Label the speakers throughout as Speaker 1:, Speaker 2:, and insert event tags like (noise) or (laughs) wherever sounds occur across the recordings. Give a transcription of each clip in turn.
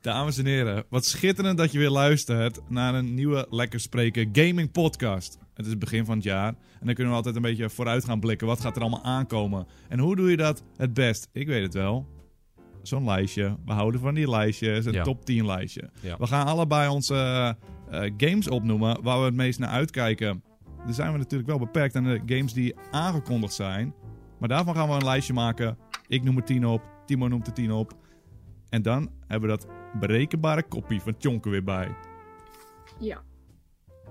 Speaker 1: Dames en heren, wat schitterend dat je weer luistert naar een nieuwe Lekker Spreken Gaming Podcast. Het is het begin van het jaar en dan kunnen we altijd een beetje vooruit gaan blikken. Wat gaat er allemaal aankomen? En hoe doe je dat het best? Ik weet het wel. Zo'n lijstje. We houden van die lijstjes. Een
Speaker 2: Ja.
Speaker 1: top 10 lijstje.
Speaker 2: Ja.
Speaker 1: We gaan allebei onze eh, eh, games opnoemen waar we het meest naar uitkijken. Dan zijn we natuurlijk wel beperkt aan de games die aangekondigd zijn. Maar daarvan gaan we een lijstje maken. Ik noem er 10 op. Timo noemt er 10 op. En dan hebben we dat berekenbare kopie van Tjonke weer bij.
Speaker 3: Ja.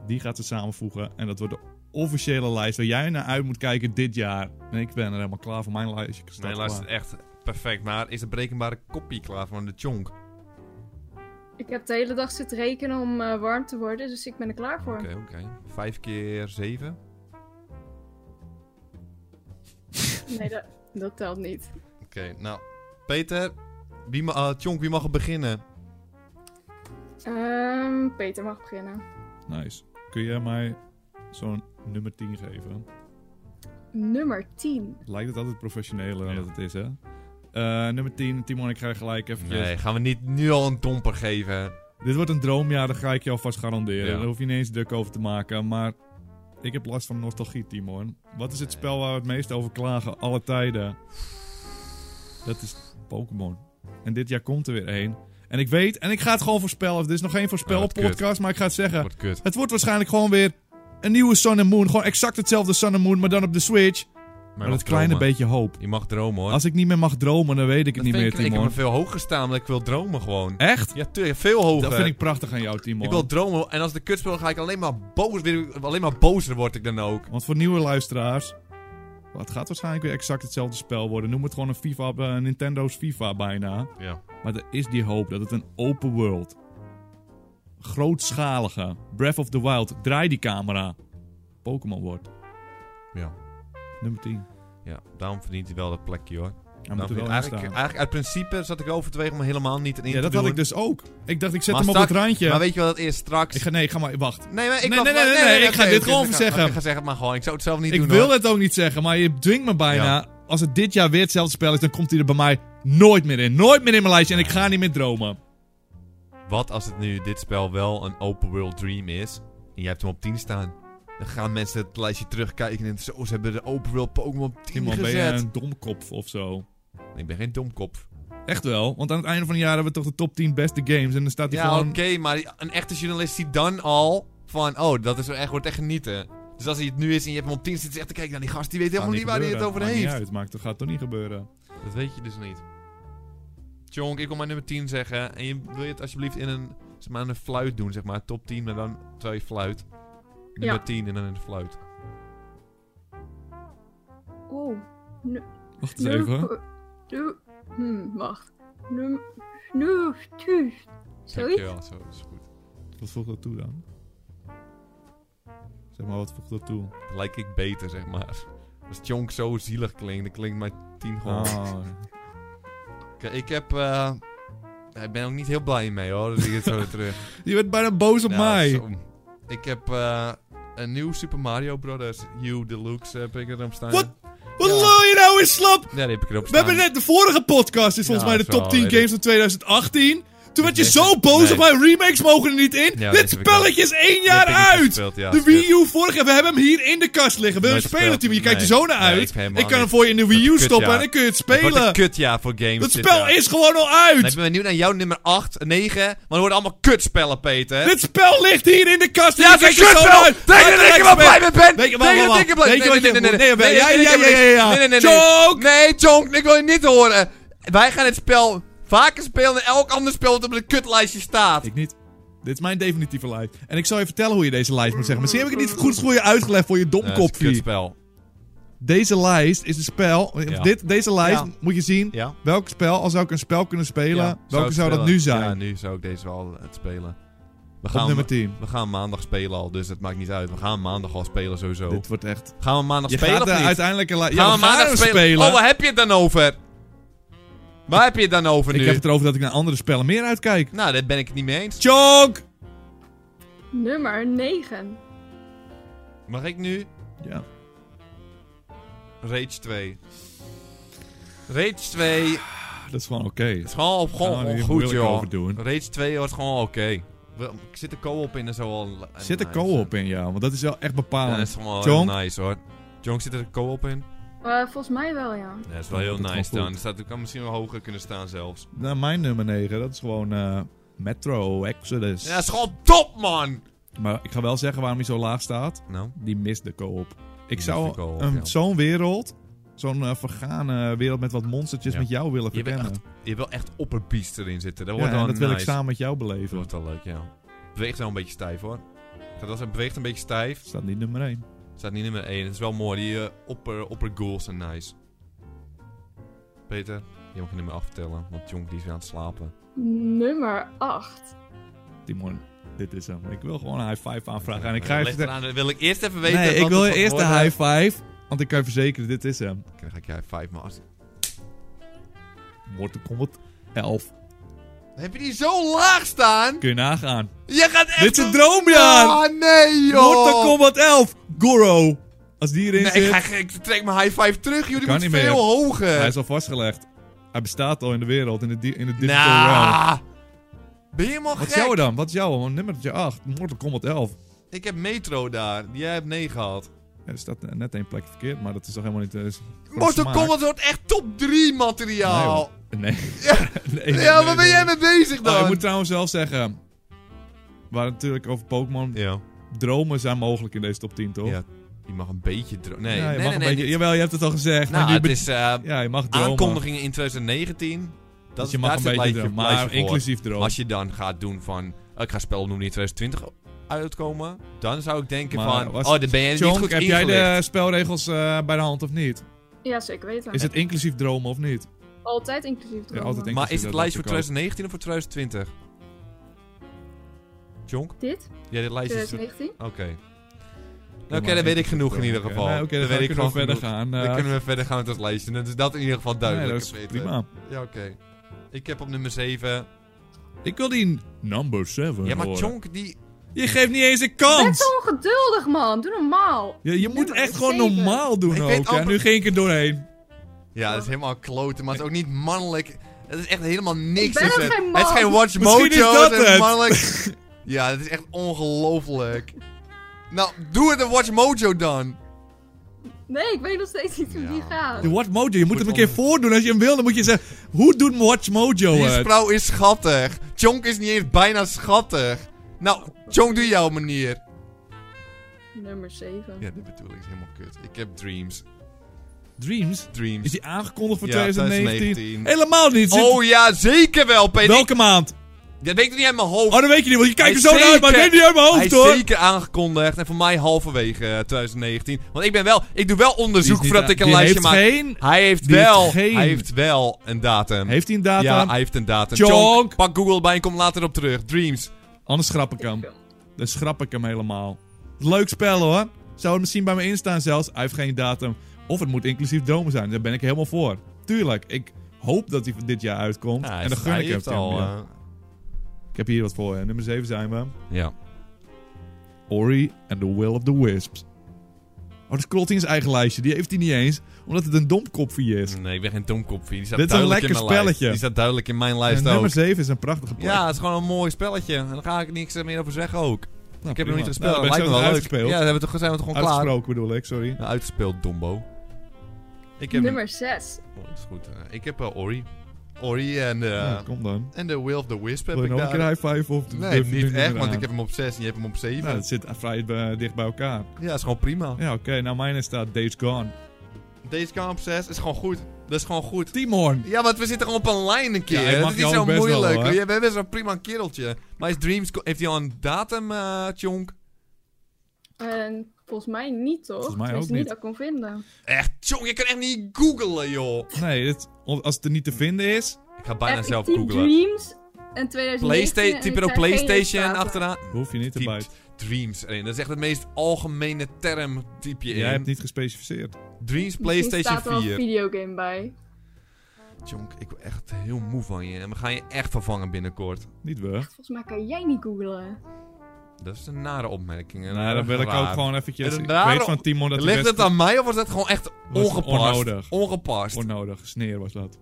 Speaker 1: Die gaat ze samenvoegen. En dat wordt de officiële lijst waar jij naar uit moet kijken dit jaar. En ik ben er helemaal klaar voor mijn lijstje. Ik sta
Speaker 2: Mijn
Speaker 1: klaar.
Speaker 2: lijst is echt perfect, maar is de brekenbare kopie klaar van de chonk? Oké,
Speaker 3: Ik heb de hele dag zitten rekenen om eh, warm te worden, dus ik ben er klaar voor.
Speaker 2: oké. Vijf keer zeven?
Speaker 3: Nee, dat, dat telt niet.
Speaker 2: Oké, nou. Peter, wie ma eh, Tjonk, wie mag er beginnen?
Speaker 3: Ehm, Peter mag beginnen.
Speaker 1: Nice. Kun jij mij zo'n nummer 10 geven?
Speaker 3: Nummer 10.
Speaker 1: Lijkt het altijd professioneler dan
Speaker 2: Ja.
Speaker 1: dat het is, hè? Eh, nummer 10, Timon, ik ga je gelijk even.
Speaker 2: Nee, gaan we niet nu al een domper geven.
Speaker 1: Dit wordt een droomjaar, dat ga ik je alvast garanderen.
Speaker 2: Ja.
Speaker 1: Daar hoef je niet eens druk over te maken. Maar ik heb last van nostalgie, Timon. Wat is het
Speaker 2: Nee.
Speaker 1: spel waar we het meest over klagen, alle tijden? Dat is Pokémon. En dit jaar komt er weer één. En ik weet, en ik ga het gewoon voorspellen. Dit is nog geen
Speaker 2: Ah, wat
Speaker 1: voorspelpodcast, maar ik ga het zeggen.
Speaker 2: Wordt kut.
Speaker 1: Het wordt waarschijnlijk gewoon weer een nieuwe Sun and Moon. Gewoon exact hetzelfde Sun and Moon, maar dan op de Switch. Maar dat kleine beetje hoop.
Speaker 2: Je mag dromen hoor.
Speaker 1: Als ik niet meer mag dromen, dan weet ik het
Speaker 2: Dat
Speaker 1: niet
Speaker 2: vind
Speaker 1: meer,
Speaker 2: ik, ik heb me
Speaker 1: Timon.
Speaker 2: veel hoger staan, omdat ik wil dromen gewoon.
Speaker 1: Echt?
Speaker 2: Ja, tuurlijk, veel hoger.
Speaker 1: Dat vind ik prachtig aan jou, Timon.
Speaker 2: Ik wil dromen en als de kut speel ga ik alleen maar boos, weer- alleen maar bozer word ik dan ook.
Speaker 1: Want voor nieuwe luisteraars. wel, Het gaat waarschijnlijk weer exact hetzelfde spel worden. Noem het gewoon een FIFA, eh, een Nintendo's FIFA bijna.
Speaker 2: Ja.
Speaker 1: Maar er is die hoop dat het een open world. Grootschalige. Breath of the Wild. Draai die camera. Pokémon wordt.
Speaker 2: Ja.
Speaker 1: Nummer 10.
Speaker 2: Ja, daarom verdient hij wel dat plekje hoor.
Speaker 1: Hij moet
Speaker 2: Daarom
Speaker 1: er wel
Speaker 2: verdient-
Speaker 1: in
Speaker 2: eigenlijk,
Speaker 1: staan.
Speaker 2: eigenlijk uit principe zat ik overwegen om helemaal niet in
Speaker 1: Ja,
Speaker 2: te
Speaker 1: dat
Speaker 2: doen.
Speaker 1: had ik dus ook. Ik dacht, ik zet
Speaker 2: Maar
Speaker 1: hem op
Speaker 2: straks-
Speaker 1: het randje.
Speaker 2: Maar weet je wat dat is straks?
Speaker 1: ik ga, nee, ga maar, wacht.
Speaker 2: Nee, maar ik
Speaker 1: Nee,
Speaker 2: mag-
Speaker 1: nee, nee, nee, nee, ik ga
Speaker 2: oké,
Speaker 1: dit
Speaker 2: oké,
Speaker 1: gewoon
Speaker 2: ik ga-
Speaker 1: zeggen.
Speaker 2: Ik ga zeggen, maar gewoon, ik zou het zelf niet
Speaker 1: Ik
Speaker 2: doen
Speaker 1: wil
Speaker 2: hoor.
Speaker 1: het ook niet zeggen, maar je dwingt me bijna.
Speaker 2: Ja.
Speaker 1: Als het dit jaar weer hetzelfde spel is, dan komt hij er bij mij nooit meer in. Nooit meer in mijn lijstje en ik ga niet meer dromen.
Speaker 2: Wat als het nu dit spel wel een open world dream is en jij hebt hem op 10 staan? Dan gaan mensen het lijstje terugkijken en zo, ze hebben de open world Pokémon op 10
Speaker 1: Timon, ben je
Speaker 2: gezet.
Speaker 1: een domkop of zo?
Speaker 2: Nee, ik ben geen domkop.
Speaker 1: Echt wel, want aan het einde van het jaar hebben we toch de top 10 beste games en dan staat hij
Speaker 2: Ja, oké,
Speaker 1: gewoon...
Speaker 2: maar die- een echte journalist ziet dan al van, oh, dat is wel echt, wordt echt genieten. Dus als hij het nu is en je hebt hem op 10 zitten echt te kijken naar die gast, die weet helemaal niet, waar hij het over
Speaker 1: Maakt Ah, niet
Speaker 2: heeft.
Speaker 1: uit, maakt, dat gaat toch niet gebeuren.
Speaker 2: Dat weet je dus niet. Tjonk, ik wil mijn nummer 10 zeggen. En je wil je het alsjeblieft in een, zeg maar, in een fluit doen, zeg maar. Top 10, maar dan terwijl je fluit. Nummer
Speaker 3: Ja.
Speaker 2: 10 en dan in de fluit.
Speaker 3: Oeh.
Speaker 1: Wacht eens even.
Speaker 3: Oh, Nu, hmm, wacht. Num, nu, tu. Zoiets?
Speaker 2: Dankjewel, zo is goed.
Speaker 1: Wat voegt dat toe dan? Zeg maar, wat voegt dat toe?
Speaker 2: Dan lijk ik beter, zeg maar. Als Tjonk zo zielig klinkt, dan klinkt mijn 10 gewoon...
Speaker 1: Ah,
Speaker 2: Oké, ik heb... eh, ik ben ook niet heel blij mee, hoor. Dus ik het zo
Speaker 1: (laughs)
Speaker 2: weer terug.
Speaker 1: je werd bijna boos op
Speaker 2: Ja,
Speaker 1: mij.
Speaker 2: zo. Ik heb eh, een nieuw Super Mario Brothers Hue Deluxe heb ik erop staan.
Speaker 1: Wat? Wat
Speaker 2: Ja.
Speaker 1: lul je nou in slap?
Speaker 2: Ja, die heb ik erop
Speaker 1: We
Speaker 2: staan.
Speaker 1: hebben net de vorige podcast, is volgens
Speaker 2: Ja,
Speaker 1: mij de
Speaker 2: zo,
Speaker 1: top 10
Speaker 2: weet
Speaker 1: games
Speaker 2: ik.
Speaker 1: van 2018. Toen werd je
Speaker 2: Nee,
Speaker 1: zo boos
Speaker 2: nee.
Speaker 1: op mijn remakes mogen er niet in.
Speaker 2: Ja,
Speaker 1: Dit
Speaker 2: deze heb ik
Speaker 1: spelletje is één
Speaker 2: Die
Speaker 1: jaar
Speaker 2: heb ik niet
Speaker 1: uit!
Speaker 2: gespeeld, ja,
Speaker 1: De
Speaker 2: shit.
Speaker 1: Wii U vorige, we hebben hem hier in de kast liggen. Wil je hem
Speaker 2: Nooit
Speaker 1: spelen,
Speaker 2: gespeeld.
Speaker 1: Tim? Je kijkt er
Speaker 2: Nee.
Speaker 1: zo naar
Speaker 2: Nee,
Speaker 1: uit.
Speaker 2: ik heb helemaal
Speaker 1: ik kan hem
Speaker 2: niet.
Speaker 1: voor je in de Wii U
Speaker 2: Kut,
Speaker 1: stoppen
Speaker 2: ja.
Speaker 1: en dan kun je het
Speaker 2: Het wordt een
Speaker 1: spelen.
Speaker 2: kutjaar voor games.
Speaker 1: Dat
Speaker 2: dit
Speaker 1: spel
Speaker 2: jaar.
Speaker 1: is gewoon al
Speaker 2: Nou, ik
Speaker 1: uit!
Speaker 2: ben benieuwd naar jouw nummer 8, 9. Want er worden allemaal kutspellen, Peter.
Speaker 1: Dit spel ligt hier in de kast. en
Speaker 2: ja,
Speaker 1: je
Speaker 2: het is
Speaker 1: kijkt
Speaker 2: een
Speaker 1: er zo naar
Speaker 2: kutspel!
Speaker 1: uit.
Speaker 2: Denk je dat ik er wel blij mee ben?
Speaker 1: Weet
Speaker 2: Denk
Speaker 1: je-
Speaker 2: je
Speaker 1: wacht,
Speaker 2: dat
Speaker 1: wacht,
Speaker 2: ik er blij
Speaker 1: wacht.
Speaker 2: mee
Speaker 1: Weet je
Speaker 2: ben?
Speaker 1: wat je- nee, ja,
Speaker 2: nee,
Speaker 1: ja,
Speaker 2: nee,
Speaker 1: ja, ja,
Speaker 2: nee,
Speaker 1: ja.
Speaker 2: nee, nee, nee, nee.
Speaker 1: Tjonk!
Speaker 2: Nee, Tjonk, ik wil je niet horen. Wij gaan het spel vaker spelen dan elk ander spel dat op de kutlijstje staat.
Speaker 1: Ik niet. Dit is mijn definitieve lijst. En ik zal je vertellen hoe je deze lijst moet zeggen. Misschien heb ik het niet goed voor je uitgelegd voor je
Speaker 2: Ja, het is een
Speaker 1: domkopje.
Speaker 2: kutspel.
Speaker 1: Deze lijst is een spel.
Speaker 2: Ja.
Speaker 1: Dit, deze lijst
Speaker 2: Ja.
Speaker 1: moet je zien.
Speaker 2: Ja.
Speaker 1: Welk spel, als zou ik een spel kunnen spelen,
Speaker 2: Ja,
Speaker 1: welke
Speaker 2: ik
Speaker 1: zou dat
Speaker 2: spelen.
Speaker 1: nu zijn?
Speaker 2: Ja, nu zou ik deze wel eh, het spelen. We
Speaker 1: Op
Speaker 2: gaan,
Speaker 1: nummer 10.
Speaker 2: we gaan maandag spelen al, dus het maakt niet uit. We gaan maandag al spelen sowieso.
Speaker 1: Dit wordt echt...
Speaker 2: Gaan we maandag
Speaker 1: Je
Speaker 2: spelen
Speaker 1: gaat
Speaker 2: of
Speaker 1: er
Speaker 2: niet?
Speaker 1: uiteindelijk... een la-
Speaker 2: gaan
Speaker 1: Ja, we gaan hem spelen.
Speaker 2: Oh, waar heb je het dan over? Waar heb je het dan over
Speaker 1: ik
Speaker 2: nu?
Speaker 1: heb het erover dat ik naar andere spellen meer uitkijk.
Speaker 2: Nou, daar ben ik het niet mee eens.
Speaker 1: Chonk!
Speaker 3: Nummer 9.
Speaker 2: Mag ik nu?
Speaker 1: Ja.
Speaker 2: Rage 2. Rage 2.
Speaker 1: is gewoon oké.
Speaker 2: Het is gewoon, gewoon,
Speaker 1: Gaan we
Speaker 2: gewoon
Speaker 1: niet
Speaker 2: goed,
Speaker 1: moeilijk
Speaker 2: joh.
Speaker 1: over doen.
Speaker 2: Rage 2 wordt gewoon oké. We- Ik zit de co-op in en zo al.
Speaker 1: Zit er
Speaker 2: nice.
Speaker 1: co-op in, ja? Want dat is wel echt
Speaker 2: Ja, dat
Speaker 1: bepalend.
Speaker 2: is gewoon eh, wel
Speaker 1: Jonk?
Speaker 2: heel nice hoor. Jonk, zit er co-op in?
Speaker 3: Eh, volgens mij wel, ja.
Speaker 2: Ja, dat is wel heel
Speaker 1: Dat is
Speaker 2: nice
Speaker 1: wel
Speaker 2: dan.
Speaker 1: goed.
Speaker 2: Het staat het kan misschien wel hoger kunnen staan zelfs.
Speaker 1: Nou, mijn nummer 9, dat is gewoon eh, Metro Exodus.
Speaker 2: Ja, dat is gewoon top, man!
Speaker 1: Maar ik ga wel zeggen waarom hij zo laag staat.
Speaker 2: Nou,
Speaker 1: Die mist de co-op. Ik
Speaker 2: mist
Speaker 1: zou
Speaker 2: de co-op,
Speaker 1: een-
Speaker 2: ja.
Speaker 1: zo'n wereld, zo'n eh, vergane wereld met wat monstertjes
Speaker 2: Ja.
Speaker 1: met jou willen
Speaker 2: je bent
Speaker 1: verkennen.
Speaker 2: echt, je wil echt opperbeest erin zitten. Dat
Speaker 1: Ja,
Speaker 2: wordt
Speaker 1: en
Speaker 2: wel
Speaker 1: dat wil ik
Speaker 2: nice.
Speaker 1: samen met jou
Speaker 2: Dat
Speaker 1: beleven.
Speaker 2: wordt wel leuk, ja. Beweegt wel een beetje stijf hoor. Ik ga dat zeggen, beweegt een beetje stijf.
Speaker 1: Staat niet nummer 1.
Speaker 2: Staat niet nummer 1. Het is wel mooi. Die eh, opper, opper goals zijn nice. Peter, je mag je nummer afvertellen. Want Jonk die is weer aan het slapen.
Speaker 3: Nummer 8.
Speaker 1: Timon, dit is hem. Ik wil gewoon een high five aanvragen. En ik ga
Speaker 2: Ligt
Speaker 1: even...
Speaker 2: Eh, eraan, wil ik eerst even weten.
Speaker 1: Nee,
Speaker 2: wat
Speaker 1: ik wil
Speaker 2: het gaat
Speaker 1: eerst de
Speaker 2: worden.
Speaker 1: high five. Want ik kan je verzekeren, dit is ehm, hem.
Speaker 2: Oké, Dan ga ik jij 5 maar als-
Speaker 1: Mortal Kombat 11.
Speaker 2: Heb je die zo laag staan?
Speaker 1: Kun je nagaan.
Speaker 2: Je gaat echt...
Speaker 1: Dit is een droomjaar!
Speaker 2: Ah, nee, joh!
Speaker 1: Mortal Kombat 11! Goro! Als die erin
Speaker 2: Nee,
Speaker 1: zit...
Speaker 2: ik, ga, ik trek mijn high five terug, joh. Die
Speaker 1: Kan
Speaker 2: moet
Speaker 1: niet meer.
Speaker 2: veel hoger.
Speaker 1: Hij is al vastgelegd. Hij bestaat al in de wereld, in de, di- in de digital realm.
Speaker 2: Nah. Ben je helemaal
Speaker 1: Wat is
Speaker 2: Nou, gek?
Speaker 1: jouw dan? Wat is jouw? Een nummertje 8. Mortal Kombat 11.
Speaker 2: Ik heb Metro daar. Jij hebt 9 gehad.
Speaker 1: Ja, er staat eh, net één plek verkeerd, maar dat is toch helemaal niet... eh, is voor
Speaker 2: Mortal
Speaker 1: smaak.
Speaker 2: Kombat wordt echt top 3 materiaal.
Speaker 1: Nee.
Speaker 2: Ja.
Speaker 1: (laughs) nee, nee,
Speaker 2: ja,
Speaker 1: nee,
Speaker 2: waar ben jij
Speaker 1: nee.
Speaker 2: mee bezig dan?
Speaker 1: Oh, ik moet trouwens zelf zeggen... We hadden het natuurlijk over Pokémon.
Speaker 2: Ja,
Speaker 1: Dromen zijn mogelijk in deze top 10, toch?
Speaker 2: Ja, je mag een beetje dromen. Nee,
Speaker 1: Ja, je
Speaker 2: nee,
Speaker 1: mag
Speaker 2: nee,
Speaker 1: een
Speaker 2: nee,
Speaker 1: beetje-
Speaker 2: niet-
Speaker 1: Jawel, je hebt het al gezegd.
Speaker 2: Nou,
Speaker 1: maar nu
Speaker 2: het
Speaker 1: be-
Speaker 2: is eh,
Speaker 1: ja, je mag dromen.
Speaker 2: aankondigingen in 2019. Dat
Speaker 1: Dus
Speaker 2: is
Speaker 1: je mag
Speaker 2: daar
Speaker 1: een
Speaker 2: zit
Speaker 1: beetje
Speaker 2: lijstje-
Speaker 1: dromen,
Speaker 2: lijstje
Speaker 1: maar
Speaker 2: voor.
Speaker 1: inclusief dromen.
Speaker 2: Als je dan gaat doen van... eh, Ik ga spel noemen die in 2020 uitkomen. Dan zou ik denken
Speaker 1: Maar
Speaker 2: van...
Speaker 1: was-
Speaker 2: Oh, dan ben je niet
Speaker 1: Jonk,
Speaker 2: goed
Speaker 1: heb jij
Speaker 2: ingelicht.
Speaker 1: de spelregels eh, bij de hand of niet?
Speaker 3: Ja, zeker weten.
Speaker 1: Is het inclusief dromen of niet?
Speaker 3: Altijd inclusief. dromen.
Speaker 1: altijd inclusief.
Speaker 2: Maar is het
Speaker 1: dat
Speaker 2: lijstje voor
Speaker 1: dacht ik
Speaker 2: 2019 of voor 2020? Jonk?
Speaker 3: Dit, dus
Speaker 2: Ja, dit lijstje
Speaker 3: Eh,
Speaker 2: is... Oké.
Speaker 3: 2019.
Speaker 2: Nou, Oké, dan weet ik genoeg in ieder geval.
Speaker 1: Nee, Oké, dan,
Speaker 2: weet ik
Speaker 1: kunnen
Speaker 2: gewoon
Speaker 1: we verder
Speaker 2: genoeg.
Speaker 1: gaan.
Speaker 2: Dan
Speaker 1: eh,
Speaker 2: kunnen we verder gaan met ons lijstje. Dan is dat in ieder geval
Speaker 1: nee,
Speaker 2: duidelijk.
Speaker 1: dat is
Speaker 2: Peter.
Speaker 1: prima.
Speaker 2: Ja, oké. Ik heb op nummer 7.
Speaker 1: Ik wil die number 7
Speaker 2: ja, maar
Speaker 1: horen.
Speaker 2: Chonk die.
Speaker 1: Je geeft niet eens een
Speaker 3: Ben zo
Speaker 1: kans!
Speaker 3: ongeduldig, man. Doe normaal.
Speaker 1: Je, je moet
Speaker 3: Nummer
Speaker 1: echt gewoon
Speaker 3: zeven. Oh.
Speaker 1: normaal doen
Speaker 2: Ik
Speaker 1: ook.
Speaker 2: weet
Speaker 1: hè.
Speaker 2: amper-
Speaker 1: Nu ging ik er doorheen.
Speaker 2: Ja, dat is helemaal kloten, maar het is ook niet mannelijk. Het is echt helemaal
Speaker 3: Ik
Speaker 2: niks.
Speaker 3: ben
Speaker 2: is
Speaker 3: ook
Speaker 2: het.
Speaker 3: geen man.
Speaker 2: het is geen Watch
Speaker 1: Misschien is
Speaker 2: Mojo,
Speaker 1: dat
Speaker 2: het is
Speaker 1: het. (laughs)
Speaker 2: mannelijk. ja, het is echt ongelooflijk. Nou, doe het een Watch Mojo dan.
Speaker 3: Nee, ik weet nog steeds niet hoe die
Speaker 2: Ja.
Speaker 3: gaat.
Speaker 1: De Watch Mojo, je moet
Speaker 2: Goed
Speaker 1: hem een keer
Speaker 2: om-
Speaker 1: voordoen. Als je hem wil, dan moet je zeggen... Hoe doet Watch Mojo
Speaker 2: Die
Speaker 1: het?
Speaker 2: vrouw is schattig. Chonk is niet eens bijna schattig. Nou, Chonk, doe jouw manier.
Speaker 3: Nummer 7.
Speaker 2: Ja, dit bedoel ik is helemaal kut. Ik heb Dreams.
Speaker 1: Dreams?
Speaker 2: Dreams.
Speaker 1: Is die aangekondigd voor
Speaker 2: Ja,
Speaker 1: 2019?
Speaker 2: 2019.
Speaker 1: Helemaal niet. Zit-
Speaker 2: Oh ja, zeker wel, Peter.
Speaker 1: Welke maand?
Speaker 2: Dat weet ik niet uit mijn hoofd.
Speaker 1: Oh, dat weet je niet, want je kijkt er
Speaker 2: Hij
Speaker 1: zo naar uit, maar ik
Speaker 2: zeker-
Speaker 1: weet niet uit mijn
Speaker 2: Hij
Speaker 1: hoofd
Speaker 2: is
Speaker 1: hoor.
Speaker 2: zeker aangekondigd en voor mij halverwege eh, 2019. Want ik ben wel, ik doe wel
Speaker 1: Die is
Speaker 2: onderzoek
Speaker 1: niet
Speaker 2: voordat
Speaker 1: aan-
Speaker 2: ik een
Speaker 1: die
Speaker 2: lijstje
Speaker 1: heeft
Speaker 2: maak.
Speaker 1: Geen,
Speaker 2: Hij heeft
Speaker 1: die heeft
Speaker 2: wel,
Speaker 1: geen-
Speaker 2: hij heeft wel een datum.
Speaker 1: heeft hij een datum?
Speaker 2: Ja, hij heeft een datum.
Speaker 1: Tjonk.
Speaker 2: Tjonk, pak Google bij en kom later op terug. Dreams.
Speaker 1: Anders schrap ik hem. Dan schrap ik hem helemaal. Leuk spel hoor. Zou het misschien bij me instaan zelfs. Hij heeft geen datum. Of het moet inclusief dromen zijn. Daar ben ik helemaal voor. Tuurlijk. Ik hoop dat hij dit jaar uitkomt.
Speaker 2: Ja,
Speaker 1: en dan gun
Speaker 2: hij
Speaker 1: ik
Speaker 2: heeft
Speaker 1: het hem.
Speaker 2: al.
Speaker 1: ja.
Speaker 2: eh,
Speaker 1: Ik heb hier wat voor. je. Nummer 7 zijn we.
Speaker 2: ja.
Speaker 1: Ori and the Will of the Wisps. Oh, dat scrolt hij in zijn eigen lijstje. Die heeft hij niet eens. Omdat het een domkopje is.
Speaker 2: Nee, ik ben geen domkopvie. Die staat
Speaker 1: Dit is een
Speaker 2: duidelijk
Speaker 1: lekker
Speaker 2: in mijn lijst.
Speaker 1: spelletje.
Speaker 2: Die staat duidelijk in mijn
Speaker 1: En
Speaker 2: lijst ook.
Speaker 1: nummer 7 is een prachtige plek.
Speaker 2: Ja, het is gewoon een mooi spelletje. En daar ga ik niks eh, meer over zeggen
Speaker 1: Nou,
Speaker 2: ook. ik heb
Speaker 1: prima.
Speaker 2: nog niet gespeeld.
Speaker 1: Nou, dan ben ik
Speaker 2: Lijkt me
Speaker 1: zo
Speaker 2: wel leuk.
Speaker 1: uitgespeeld.
Speaker 2: Ja, dan hebben we toch, zijn we toch gewoon klaar.
Speaker 1: Uitgesproken bedoel ik, sorry.
Speaker 2: Ja, uitgespeeld, dombo. Ik heb
Speaker 3: Nummer 6.
Speaker 2: Oh, dat is goed. Eh, ik heb eh, Ori. Ori en de,
Speaker 1: Ja, kom dan.
Speaker 2: en de Will of the Wisp heb
Speaker 1: Wil je
Speaker 2: ik
Speaker 1: nog een
Speaker 2: daar.
Speaker 1: keer high five? Of
Speaker 2: nee,
Speaker 1: durf je nu
Speaker 2: niet echt,
Speaker 1: meer
Speaker 2: want
Speaker 1: aan?
Speaker 2: ik heb hem op 6 en je hebt hem op 7.
Speaker 1: Nou, dat zit vrij eh, dicht bij elkaar.
Speaker 2: Ja, is gewoon prima.
Speaker 1: Ja, oké. nou, mijn staat Days Gone.
Speaker 2: Deze kan op 6, is gewoon goed. Dat is gewoon goed.
Speaker 1: Timon!
Speaker 2: Ja, want we zitten gewoon op een lijn een keer.
Speaker 1: Ja, ik mag
Speaker 2: dat is
Speaker 1: jou
Speaker 2: niet zo
Speaker 1: ook best wel,
Speaker 2: moeilijk.
Speaker 1: hoor.
Speaker 2: we hebben best wel een prima kereltje. Maar is Dreams, heeft hij al een datum, eh Chonk?
Speaker 3: En volgens mij niet, toch?
Speaker 1: Volgens mij
Speaker 3: Tenminste,
Speaker 1: ook
Speaker 3: niet
Speaker 1: niet.
Speaker 3: dat ik kon vinden.
Speaker 2: Echt, Chonk, je kan echt niet googlen, joh.
Speaker 1: Nee, dit, als het er niet te vinden is,
Speaker 2: Ik ga bijna
Speaker 3: Echt, ik
Speaker 2: zelf
Speaker 3: typ
Speaker 2: googlen.
Speaker 3: Dreams en 2019.
Speaker 2: Playsta
Speaker 3: en
Speaker 2: typ
Speaker 3: ik
Speaker 2: er ook
Speaker 3: krijg geen
Speaker 2: PlayStation
Speaker 3: resultaten.
Speaker 2: achteraan.
Speaker 1: hoef je niet te
Speaker 2: Typt
Speaker 1: bijten.
Speaker 2: Dreams erin. Dat is echt het meest algemene term typ je in.
Speaker 1: Jij hebt niet gespecificeerd.
Speaker 2: Dreams
Speaker 3: Misschien
Speaker 2: PlayStation
Speaker 3: staat er wel
Speaker 2: 4.
Speaker 3: een videogame bij.
Speaker 2: Jonk, ik word echt heel moe van je. En we gaan je echt vervangen binnenkort.
Speaker 1: Niet we.
Speaker 3: Volgens mij kan jij niet googlen.
Speaker 2: Dat is een nare opmerking. en
Speaker 1: Nou, dan
Speaker 2: erg
Speaker 1: wil ik
Speaker 2: raar.
Speaker 1: ook gewoon eventjes...
Speaker 2: En
Speaker 1: Ik
Speaker 2: daarom-
Speaker 1: weet van Timon dat de
Speaker 2: Ligt
Speaker 1: beste-
Speaker 2: het aan mij of was dat gewoon echt
Speaker 1: Was
Speaker 2: ongepast?
Speaker 1: onnodig.
Speaker 2: Ongepast.
Speaker 1: Onnodig. Sneer was dat.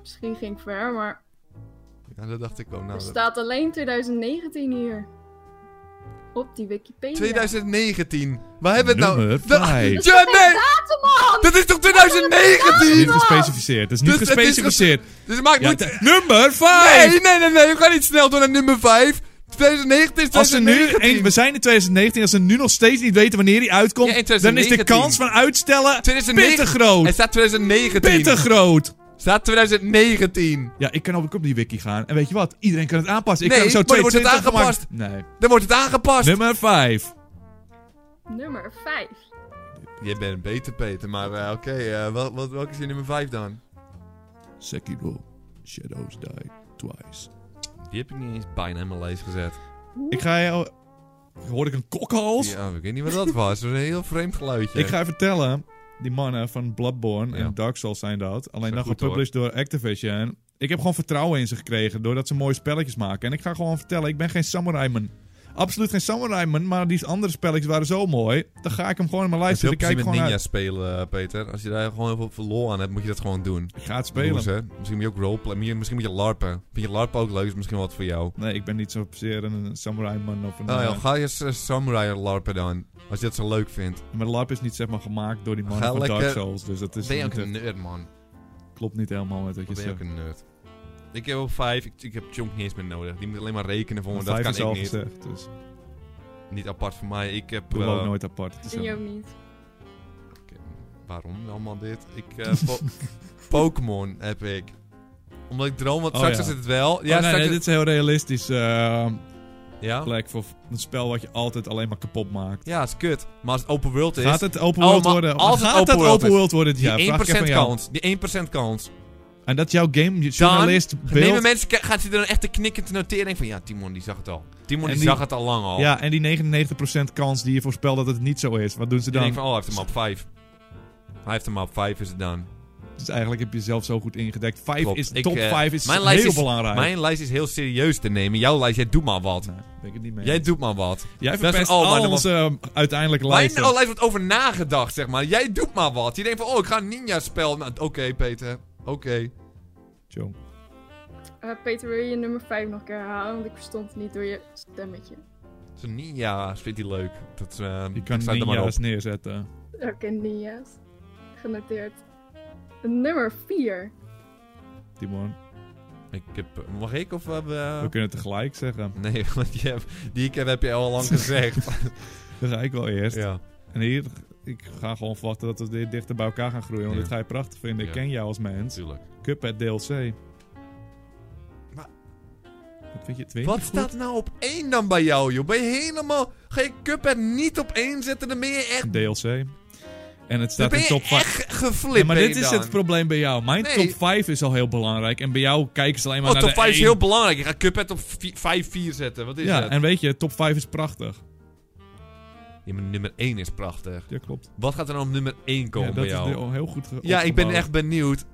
Speaker 3: Misschien ging ik ver, maar
Speaker 2: Ja, dat dacht ik ook. Nou,
Speaker 3: er
Speaker 2: dat-
Speaker 3: staat alleen 2019 hier. Op die Wikipedia.
Speaker 2: 2019. Waar hebben we het nou?
Speaker 1: Nummer
Speaker 2: Da-
Speaker 1: vijf.
Speaker 2: Ja, nee!
Speaker 3: Waterman!
Speaker 2: Dat is toch
Speaker 1: Het is
Speaker 2: 2019?
Speaker 1: niet gespecificeerd. Het is niet
Speaker 2: Nou. Dus het is
Speaker 1: gespecificeerd.
Speaker 2: Dus het maakt
Speaker 1: Ja,
Speaker 2: niet...
Speaker 1: t- nummer 5!
Speaker 2: Nee, nee, nee, nee. We gaan niet snel door naar nummer 5. 2019 is
Speaker 1: Als er nu,
Speaker 2: 2019.
Speaker 1: en we zijn in 2019, als ze nu nog steeds niet weten wanneer die uitkomt,
Speaker 2: Ja, in
Speaker 1: dan is de
Speaker 2: 2019.
Speaker 1: kans van uitstellen
Speaker 2: 2019.
Speaker 1: pittig groot.
Speaker 2: Er staat 2019.
Speaker 1: Pittig groot.
Speaker 2: Staat 2019.
Speaker 1: Ja, ik kan ook op die wiki gaan. En weet je wat? Iedereen kan het aanpassen. Ik
Speaker 2: Nee,
Speaker 1: kan zo
Speaker 2: maar dan wordt het
Speaker 1: 22 maken.
Speaker 2: aangepast.
Speaker 1: Nee.
Speaker 2: Dan wordt het aangepast.
Speaker 1: Nummer 5.
Speaker 3: Nummer 5.
Speaker 2: Je bent beter, Peter. Maar eh, oké, eh, wel- wat, welke is je nummer 5 dan?
Speaker 1: Sekiro. Shadows die twice.
Speaker 2: Die heb ik niet eens bijna in mijn lijst gezet.
Speaker 1: Ik ga jou... Hoorde ik een kokhals?
Speaker 2: Ja, oh, ik weet niet wat dat was. Dat was een heel vreemd geluidje.
Speaker 1: Ik ga je vertellen, die mannen van Bloodborne
Speaker 2: Ja.
Speaker 1: en Dark Souls zijn dat. Alleen
Speaker 2: Zijn
Speaker 1: dan
Speaker 2: goed,
Speaker 1: gepublished door Activision. Ik heb gewoon vertrouwen in ze gekregen doordat ze mooie spelletjes maken. En ik ga gewoon vertellen, ik ben geen samurai man. Absoluut geen samurai man, maar die andere spelletjes waren zo mooi. Dan ga ik hem gewoon in mijn
Speaker 2: Als
Speaker 1: lijst
Speaker 2: je
Speaker 1: zetten.
Speaker 2: heel
Speaker 1: Kijk
Speaker 2: plezier met
Speaker 1: gewoon
Speaker 2: ninja
Speaker 1: uit.
Speaker 2: spelen, eh, Peter. Als je daar gewoon heel veel voor lol aan hebt, moet je dat gewoon doen.
Speaker 1: Ik ga het
Speaker 2: Broers,
Speaker 1: spelen.
Speaker 2: hè? Misschien moet je ook roleplay. Misschien- Misschien moet je larpen. Vind je larpen ook leuk? Is misschien wat voor jou.
Speaker 1: Nee, ik ben niet zozeer een samurai man of een...
Speaker 2: Oh, ja,
Speaker 1: eh,
Speaker 2: ga je s- samurai larpen dan. Als je dat zo leuk vindt.
Speaker 1: maar LARP is niet zeg maar gemaakt door die mannen
Speaker 2: Ga
Speaker 1: van Dark
Speaker 2: lekker-
Speaker 1: Souls. Dus dat is
Speaker 2: ben je ook
Speaker 1: niet,
Speaker 2: een nerd, man.
Speaker 1: echt- klopt niet helemaal met wat je
Speaker 2: Dan ben je
Speaker 1: zegt.
Speaker 2: ook een nerd. Ik heb op vijf. Ik, ik heb Chonk niet eens meer nodig. Die moet alleen maar rekenen voor me.
Speaker 1: Een
Speaker 2: Dat
Speaker 1: vijf
Speaker 2: kan
Speaker 1: is al
Speaker 2: ik niet.
Speaker 1: gezegd, dus
Speaker 2: Niet apart voor mij. Ik heb...
Speaker 1: doe
Speaker 2: eh,
Speaker 1: ook nooit apart. Het is
Speaker 3: Zie je
Speaker 1: een-
Speaker 3: ook niet.
Speaker 2: Waarom allemaal dit? Ik,
Speaker 1: (laughs)
Speaker 2: eh, po- Pokémon heb ik. Omdat ik droom, want
Speaker 1: Oh,
Speaker 2: straks
Speaker 1: ja.
Speaker 2: is het wel.
Speaker 1: Ja,
Speaker 2: Ja,
Speaker 1: nee,
Speaker 2: straks
Speaker 1: nee,
Speaker 2: is-
Speaker 1: dit is een heel realistisch eh,
Speaker 2: ja?
Speaker 1: plek voor een spel wat je altijd alleen maar kapot maakt.
Speaker 2: ja, is kut. Maar als het open world is,
Speaker 1: Gaat het open
Speaker 2: Oh,
Speaker 1: world
Speaker 2: maar
Speaker 1: worden?
Speaker 2: als het
Speaker 1: gaat
Speaker 2: open
Speaker 1: het
Speaker 2: world
Speaker 1: open
Speaker 2: is-
Speaker 1: world worden? dit
Speaker 2: die
Speaker 1: jaar? vraag ik
Speaker 2: 1%
Speaker 1: even aan jou.
Speaker 2: kans. Die 1% kans.
Speaker 1: En dat jouw gamejournalist
Speaker 2: Nemen
Speaker 1: beeld...
Speaker 2: mensen, ke- gaat hij er dan echt een knikkend notering van... Ja, Timon die zag het al. Timon
Speaker 1: En
Speaker 2: die,
Speaker 1: die-
Speaker 2: zag het al lang al.
Speaker 1: Ja, en die 99% kans die je voorspelt dat het niet zo is. Wat doen ze
Speaker 2: Die denkt
Speaker 1: dan?
Speaker 2: van, oh, hij heeft hem op 5. Hij heeft hem op 5, is het dan.
Speaker 1: Dus eigenlijk heb je jezelf zo goed ingedekt. Vijf
Speaker 2: Klopt.
Speaker 1: is,
Speaker 2: Ik,
Speaker 1: top
Speaker 2: eh,
Speaker 1: 5 is
Speaker 2: mijn
Speaker 1: heel
Speaker 2: lijst is-
Speaker 1: belangrijk.
Speaker 2: Mijn lijst is heel serieus te nemen. Jouw lijst, jij doet maar wat.
Speaker 1: Nee, ben ik het niet mee.
Speaker 2: Jij doet maar wat.
Speaker 1: Jij
Speaker 2: dat is-
Speaker 1: verpest
Speaker 2: oh, maar
Speaker 1: al
Speaker 2: dan-
Speaker 1: onze eh, uiteindelijke
Speaker 2: Mijn
Speaker 1: lijsten.
Speaker 2: lijst wordt over nagedacht, zeg maar. Jij doet maar wat. Je denkt van, oh, ik ga een ninja-spel... Nou, oké, Peter. Oké.
Speaker 1: Tjong.
Speaker 3: Eh, Peter, wil je je nummer 5 nog een keer herhalen? Want ik verstond het niet door je stemmetje.
Speaker 2: Zo'n ninja vindt hij leuk. Dat, eh
Speaker 1: Je kan
Speaker 2: ik sluit er maar op.
Speaker 1: ninja's neerzetten.
Speaker 3: Oké, Nia's. Genoteerd. Nummer 4.
Speaker 1: Timon,
Speaker 2: Ik heb, eh, mag ik of hebben
Speaker 1: we
Speaker 2: we...
Speaker 1: kunnen het tegelijk zeggen.
Speaker 2: Nee, (laughs) want die, heb, die ik heb, heb je al lang
Speaker 1: (laughs)
Speaker 2: gezegd.
Speaker 1: Dan ga ik wel eerst.
Speaker 2: ja.
Speaker 1: En hier, ik ga gewoon verwachten dat we dit dichter bij elkaar gaan groeien. Want
Speaker 2: Ja.
Speaker 1: dit ga je prachtig vinden. Ik
Speaker 2: Ja.
Speaker 1: ken jou als mens.
Speaker 2: Natuurlijk.
Speaker 1: Cuphead DLC.
Speaker 2: Maar-
Speaker 1: Wat vind je het weer?
Speaker 2: Wat staat nou op één dan bij jou, joh? Ben je helemaal... Ga je Cuphead niet op één zetten, dan ben je echt...
Speaker 1: DLC. En het
Speaker 2: Dan
Speaker 1: staat
Speaker 2: ben
Speaker 1: in
Speaker 2: je
Speaker 1: top 5.
Speaker 2: echt geflipt,
Speaker 1: Ja, maar
Speaker 2: ben
Speaker 1: dit
Speaker 2: je
Speaker 1: is
Speaker 2: dan.
Speaker 1: het probleem bij jou. Mijn
Speaker 2: Nee.
Speaker 1: top 5 is al heel belangrijk. En bij jou kijken ze alleen maar
Speaker 2: Oh,
Speaker 1: naar
Speaker 2: top
Speaker 1: de
Speaker 2: 5 is
Speaker 1: één.
Speaker 2: heel belangrijk. Je gaat Cuphead op 5-4 zetten. Wat is
Speaker 1: Ja,
Speaker 2: dat?
Speaker 1: en weet je, top 5 is prachtig.
Speaker 2: Ja, maar nummer 1 is prachtig.
Speaker 1: Ja, klopt.
Speaker 2: Wat gaat er nou op nummer 1 komen
Speaker 1: ja, dat
Speaker 2: bij
Speaker 1: is
Speaker 2: jou?
Speaker 1: heel- heel goed ge-
Speaker 2: Ja, ik ben
Speaker 1: opgebouwd.
Speaker 2: echt benieuwd.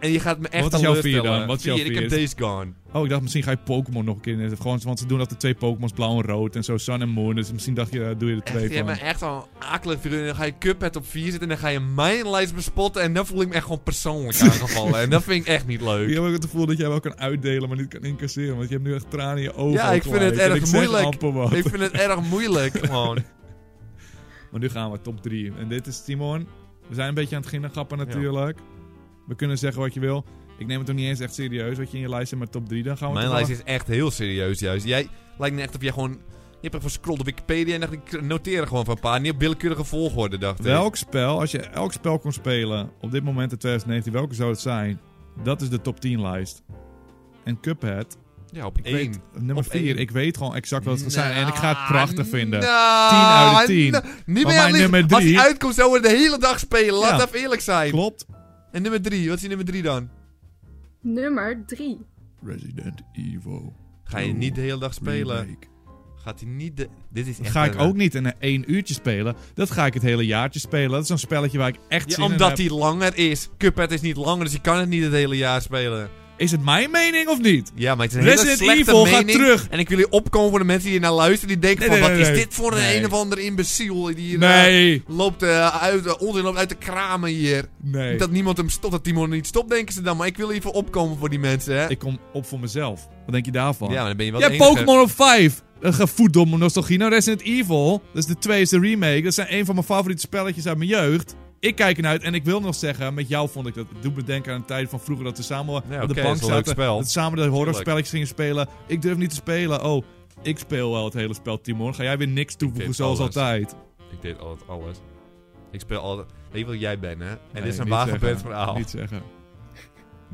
Speaker 2: En je gaat me echt
Speaker 1: Wat is jouw vier
Speaker 2: teleurstellen.
Speaker 1: dan? Wat is jouw
Speaker 2: Vier, Ik heb
Speaker 1: vier?
Speaker 2: Days Gone.
Speaker 1: Oh, ik dacht misschien ga je Pokémon nog een keer in. Gewoon, want ze doen altijd twee Pokémon's, blauw en rood. En zo Sun en Moon. Dus misschien dacht je, eh, doe je er twee
Speaker 2: Echt, je hebt
Speaker 1: van.
Speaker 2: me echt al een akelig figuur. En dan ga je Cuphead op 4 zitten. En dan ga je mijn lijst bespotten. En dan voel ik me echt gewoon
Speaker 1: (laughs)
Speaker 2: persoonlijk aangevallen. En dat vind ik echt niet leuk.
Speaker 1: Ik heb ook het gevoel dat jij wel kan uitdelen, maar niet kan incasseren. Want je hebt nu echt tranen in je ogen.
Speaker 2: Ja,
Speaker 1: al
Speaker 2: ik vind
Speaker 1: gelijk.
Speaker 2: het
Speaker 1: En
Speaker 2: erg
Speaker 1: ik zeg
Speaker 2: moeilijk.
Speaker 1: amper wat.
Speaker 2: (laughs) Ik vind het erg moeilijk, gewoon.
Speaker 1: Maar nu gaan we top 3. En dit is Timon. We zijn een beetje aan het ginnengappen natuurlijk. We kunnen zeggen wat je wil. Ik neem het nog niet eens echt serieus wat je in je lijst hebt, maar top 3 dan gaan we
Speaker 2: Mijn
Speaker 1: toch
Speaker 2: lijst
Speaker 1: wel-
Speaker 2: is echt heel serieus, juist. Jij lijkt me echt of jij gewoon... Je hebt echt gescrollt op Wikipedia en dacht ik noteer er gewoon van een paar. Niet op willekeurige volgorde, dacht ik.
Speaker 1: Welk spel, als je elk spel kon spelen op dit moment in 2019, welke zou het zijn? Dat is de top 10 lijst. En Cuphead,
Speaker 2: Ja, op
Speaker 1: ik
Speaker 2: 1.
Speaker 1: weet, nummer
Speaker 2: Op
Speaker 1: 4,
Speaker 2: één.
Speaker 1: ik weet gewoon exact wat het gaat zijn. En ik ga het
Speaker 2: Nou,
Speaker 1: prachtig vinden.
Speaker 2: nou,
Speaker 1: 10 uit de 10.
Speaker 2: nou, Niet
Speaker 1: Maar
Speaker 2: meer
Speaker 1: mijn nummer
Speaker 2: Als
Speaker 1: drie-
Speaker 2: hij uitkomt, zouden we de hele dag spelen. Laat
Speaker 1: Ja.
Speaker 2: even eerlijk zijn.
Speaker 1: Klopt.
Speaker 2: En nummer 3, wat is je nummer 3 dan?
Speaker 3: Nummer 3.
Speaker 1: Resident Evil.
Speaker 2: Ga je niet de hele dag spelen?
Speaker 1: Remake.
Speaker 2: Gaat hij niet de. Dit is
Speaker 1: Dat
Speaker 2: echt.
Speaker 1: ga ik
Speaker 2: een-
Speaker 1: ook niet in een één uurtje spelen. Dat ga ik het hele jaartje spelen. Dat is zo'n spelletje waar ik echt
Speaker 2: Ja,
Speaker 1: zin in
Speaker 2: omdat
Speaker 1: heb.
Speaker 2: hij langer is. Cuphead is niet langer, dus je kan het niet het hele jaar spelen.
Speaker 1: Is het mijn mening of niet?
Speaker 2: Ja, maar het is een hele
Speaker 1: Resident
Speaker 2: slechte
Speaker 1: Evil gaat
Speaker 2: mening.
Speaker 1: terug.
Speaker 2: En ik wil jullie opkomen voor de mensen die hier naar luisteren. Die denken
Speaker 1: Nee,
Speaker 2: van,
Speaker 1: nee,
Speaker 2: wat
Speaker 1: nee,
Speaker 2: is
Speaker 1: nee.
Speaker 2: dit voor een
Speaker 1: Nee.
Speaker 2: een of ander imbeciel? Die hier, eh,
Speaker 1: Nee.
Speaker 2: loopt, eh, uit, eh, onzin loopt uit de kramen hier.
Speaker 1: Nee.
Speaker 2: Dat niemand hem stopt, dat Timon niet stopt, denken ze dan. Maar ik wil even opkomen voor die mensen, hè.
Speaker 1: Ik kom op voor mezelf. Wat denk je daarvan?
Speaker 2: Ja, maar dan ben je wel
Speaker 1: Jij
Speaker 2: de
Speaker 1: hebt
Speaker 2: enige-
Speaker 1: Pokémon op 5. eh, Gevoed door mijn nostalgie. Nou, Resident Evil. Dat is de twee is de remake. Dat zijn een van mijn favoriete spelletjes uit mijn jeugd. Ik kijk ernaar uit en ik wil nog zeggen, met jou vond ik dat. Het doet me denken aan een tijd van vroeger dat we samen op
Speaker 2: oké,
Speaker 1: de
Speaker 2: dat
Speaker 1: bank
Speaker 2: is een leuk
Speaker 1: zaten.
Speaker 2: spel.
Speaker 1: Dat we samen de horrorspelletjes gingen spelen. Ik durf niet te spelen. Oh, ik speel wel het hele spel, Timon. Ga jij weer niks toevoegen
Speaker 2: deed
Speaker 1: zoals
Speaker 2: alles.
Speaker 1: altijd?
Speaker 2: Ik deed altijd alles. Ik speel altijd... Weet je wat jij bent, hè? En
Speaker 1: Nee,
Speaker 2: dit is een
Speaker 1: niet
Speaker 2: wagenbeurt
Speaker 1: zeggen.
Speaker 2: verhaal.
Speaker 1: Niet zeggen.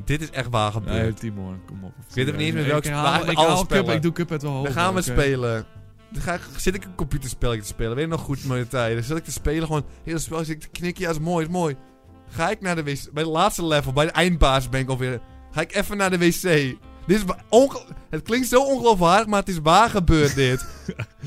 Speaker 2: Dit is echt wagenbeurt.
Speaker 1: Nee, Timon, kom op.
Speaker 2: Ik weet ook niet eens meer
Speaker 1: Ik
Speaker 2: welk spel-
Speaker 1: haal-
Speaker 2: ik
Speaker 1: Ik,
Speaker 2: alle
Speaker 1: haal
Speaker 2: spellen.
Speaker 1: Cuphead- ik doe Cuphead wel hoog.
Speaker 2: Dan gaan we
Speaker 1: Oh, oké.
Speaker 2: spelen. Dan ga ik, zit ik een computerspelletje te spelen. Weet je nog goed, mijn tijd. Dan zit ik te spelen, gewoon heel spel. Zit ik te knikken, ja, is mooi, is mooi. Ga ik naar de wc. Bij de laatste level, bij de eindbaas ben ik alweer. Ga ik even naar de wc. Dit is wa- onge- het klinkt zo ongeloofwaardig, maar het is waar gebeurd
Speaker 1: (laughs)
Speaker 2: dit.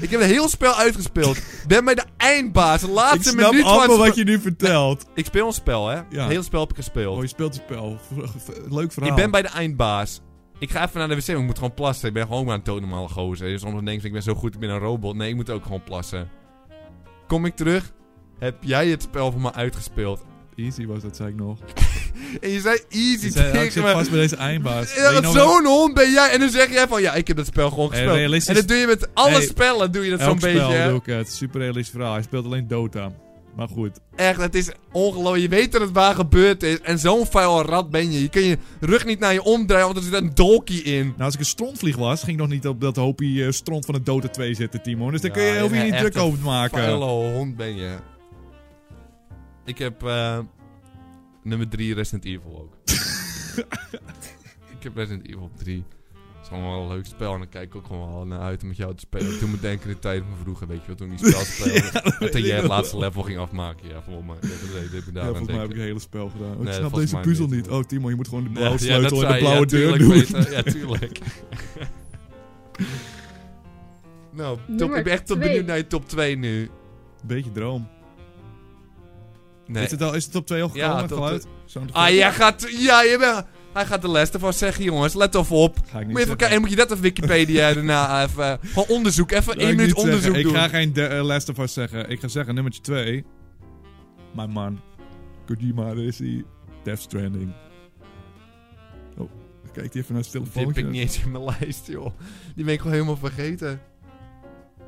Speaker 2: ik heb een heel spel uitgespeeld. Ben bij de eindbaas, de
Speaker 1: Ik
Speaker 2: laatste
Speaker 1: snap
Speaker 2: minuut van het
Speaker 1: allemaal wat
Speaker 2: spe-
Speaker 1: je nu vertelt.
Speaker 2: Ik speel een spel, hè?
Speaker 1: Ja.
Speaker 2: Een heel spel heb ik gespeeld.
Speaker 1: Oh, je speelt het spel. V- v- Leuk verhaal.
Speaker 2: Ik ben bij de eindbaas. Ik ga even naar de wc, want ik moet gewoon plassen. Ik ben gewoon maar een totenormale gozer. Dus soms denk ik, ik ben zo goed, ik ben een robot. Nee, ik moet ook gewoon plassen. Kom ik terug? Heb jij het spel voor me uitgespeeld?
Speaker 1: Easy was dat, zei ik nog.
Speaker 2: En je zei easy
Speaker 1: Ik zei, oh, ik
Speaker 2: tegen
Speaker 1: zit
Speaker 2: me.
Speaker 1: vast bij deze eindbaas. nou
Speaker 2: Ja, dat zo'n hond ben jij. En dan zeg jij van, ja, ik heb dat spel gewoon
Speaker 1: Hey,
Speaker 2: gespeeld.
Speaker 1: realistisch-
Speaker 2: En dat doe je met alle
Speaker 1: Hey,
Speaker 2: spellen, doe je dat zo'n
Speaker 1: Zo'n spel
Speaker 2: beetje. hè?
Speaker 1: doe ik het. Super realistisch verhaal. Hij speelt alleen Dota. Maar goed.
Speaker 2: Echt, het is ongelooflijk. Je weet dat het waar gebeurd is. En zo'n vuil rat ben je. Je kan je rug niet naar je omdraaien, want er zit een dolkie in.
Speaker 1: Nou, als ik een strontvlieg was, ging ik nog niet op dat hoopje eh, stront van de Dota 2 zitten, Timon. Dus daar kun je,
Speaker 2: Ja,
Speaker 1: hoef je
Speaker 2: ja,
Speaker 1: niet
Speaker 2: echt
Speaker 1: druk
Speaker 2: een
Speaker 1: over te maken.
Speaker 2: Vuile hond ben je. Ik heb eh, nummer 3 Resident Evil
Speaker 1: (laughs)
Speaker 2: ook. ik heb Resident Evil 3. Dat is gewoon wel een leuk spel en dan kijk ik ook gewoon wel naar uit om met jou te spelen. Toen moet denken in de tijd van vroeger, weet je wel, toen ik die
Speaker 1: (laughs)
Speaker 2: spel speelde. en toen
Speaker 1: ik
Speaker 2: jij het
Speaker 1: nog
Speaker 2: laatste level ging afmaken, ja, volgens mij. Dat is- dit moet
Speaker 1: Ja,
Speaker 2: daar aan
Speaker 1: volgens mij heb ik
Speaker 2: denken.
Speaker 1: het hele spel gedaan. Oh, ik
Speaker 2: Nee,
Speaker 1: snap
Speaker 2: volgens
Speaker 1: deze
Speaker 2: mij
Speaker 1: puzzel
Speaker 2: niet.
Speaker 1: niet. Oh, Timon, je moet gewoon de
Speaker 2: Ja,
Speaker 1: blauwe
Speaker 2: ja, dat
Speaker 1: sleutel en
Speaker 2: zei
Speaker 1: de
Speaker 2: je.
Speaker 1: blauwe
Speaker 2: Ja,
Speaker 1: deur
Speaker 2: tuurlijk,
Speaker 1: doen.
Speaker 2: Peter. Ja, tuurlijk. (laughs) nou, top,
Speaker 3: Nummer
Speaker 2: ik ben echt tot
Speaker 3: twee.
Speaker 2: benieuwd naar je top 2 nu.
Speaker 1: Beetje droom.
Speaker 2: Nee.
Speaker 1: Is, het al, is het top 2 al
Speaker 2: Ja,
Speaker 1: gekomen?
Speaker 2: top
Speaker 1: geluid? Sound
Speaker 2: Ah,
Speaker 1: effect?
Speaker 2: jij gaat... Ja, je bent... Hij gaat de les ervan zeggen, jongens. Let even op.
Speaker 1: Ga ik niet
Speaker 2: Moet je even
Speaker 1: zeggen.
Speaker 2: kijken. En moet je dat op
Speaker 1: (laughs)
Speaker 2: Wikipedia daarna even... eh, Gewoon onderzoek. Even
Speaker 1: Laat
Speaker 2: één
Speaker 1: ik
Speaker 2: minuut
Speaker 1: niet zeggen.
Speaker 2: onderzoek
Speaker 1: ik
Speaker 2: doen.
Speaker 1: ga geen de, eh, Last of Us zeggen. Ik ga zeggen nummertje 2. Mijn man. Kojima, daar is hij. Death Stranding. Oh, kijkt hij even naar zijn
Speaker 2: Die heb ik
Speaker 1: telefoon.
Speaker 2: niet eens in mijn lijst, joh. Die ben ik gewoon helemaal vergeten.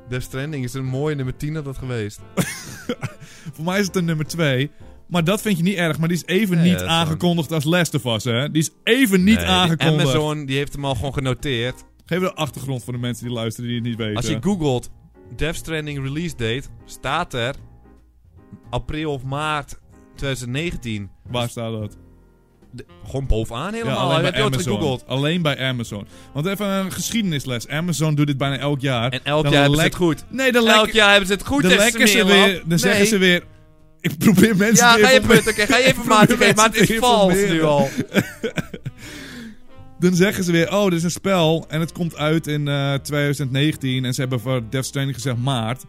Speaker 2: Death Stranding is een mooie nummer 10 had dat geweest.
Speaker 1: Voor mij is het een nummer 2. Maar dat vind je niet erg. Maar die is even
Speaker 2: Nee, dat
Speaker 1: niet
Speaker 2: is
Speaker 1: aangekondigd als Last of Us, hè? Die is even niet
Speaker 2: Nee, die
Speaker 1: aangekondigd.
Speaker 2: Amazon die heeft hem al gewoon genoteerd.
Speaker 1: Geef de achtergrond voor de mensen die luisteren die het niet weten.
Speaker 2: Als je googelt Death Stranding release date, staat er april of maart 2019.
Speaker 1: Waar staat dat?
Speaker 2: De- gewoon bovenaan helemaal.
Speaker 1: alleen
Speaker 2: heb
Speaker 1: bij
Speaker 2: je ooit
Speaker 1: Amazon.
Speaker 2: gegoogeld.
Speaker 1: Alleen bij Amazon. Want even een geschiedenisles. Amazon doet dit bijna elk jaar.
Speaker 2: En elk
Speaker 1: Dan
Speaker 2: jaar hebben ze
Speaker 1: lek-
Speaker 2: het goed.
Speaker 1: Nee, de
Speaker 2: Elk jaar hebben ze het goed.
Speaker 1: dan
Speaker 2: hè,
Speaker 1: lekken ze
Speaker 2: Smeerlap.
Speaker 1: weer, dan
Speaker 2: Nee.
Speaker 1: zeggen ze weer. Ik probeer mensen
Speaker 2: Ja,
Speaker 1: te
Speaker 2: ga je
Speaker 1: informeren."
Speaker 2: putten. Oké, ga je
Speaker 1: (laughs)
Speaker 2: even
Speaker 1: probeer
Speaker 2: maten geven. Maar het
Speaker 1: mensen
Speaker 2: is
Speaker 1: te
Speaker 2: vals nu
Speaker 1: informeren.
Speaker 2: al.
Speaker 1: Dan zeggen ze weer, oh, dit is een spel en het komt uit in eh, 2019 en ze hebben voor Death Stranding gezegd maart.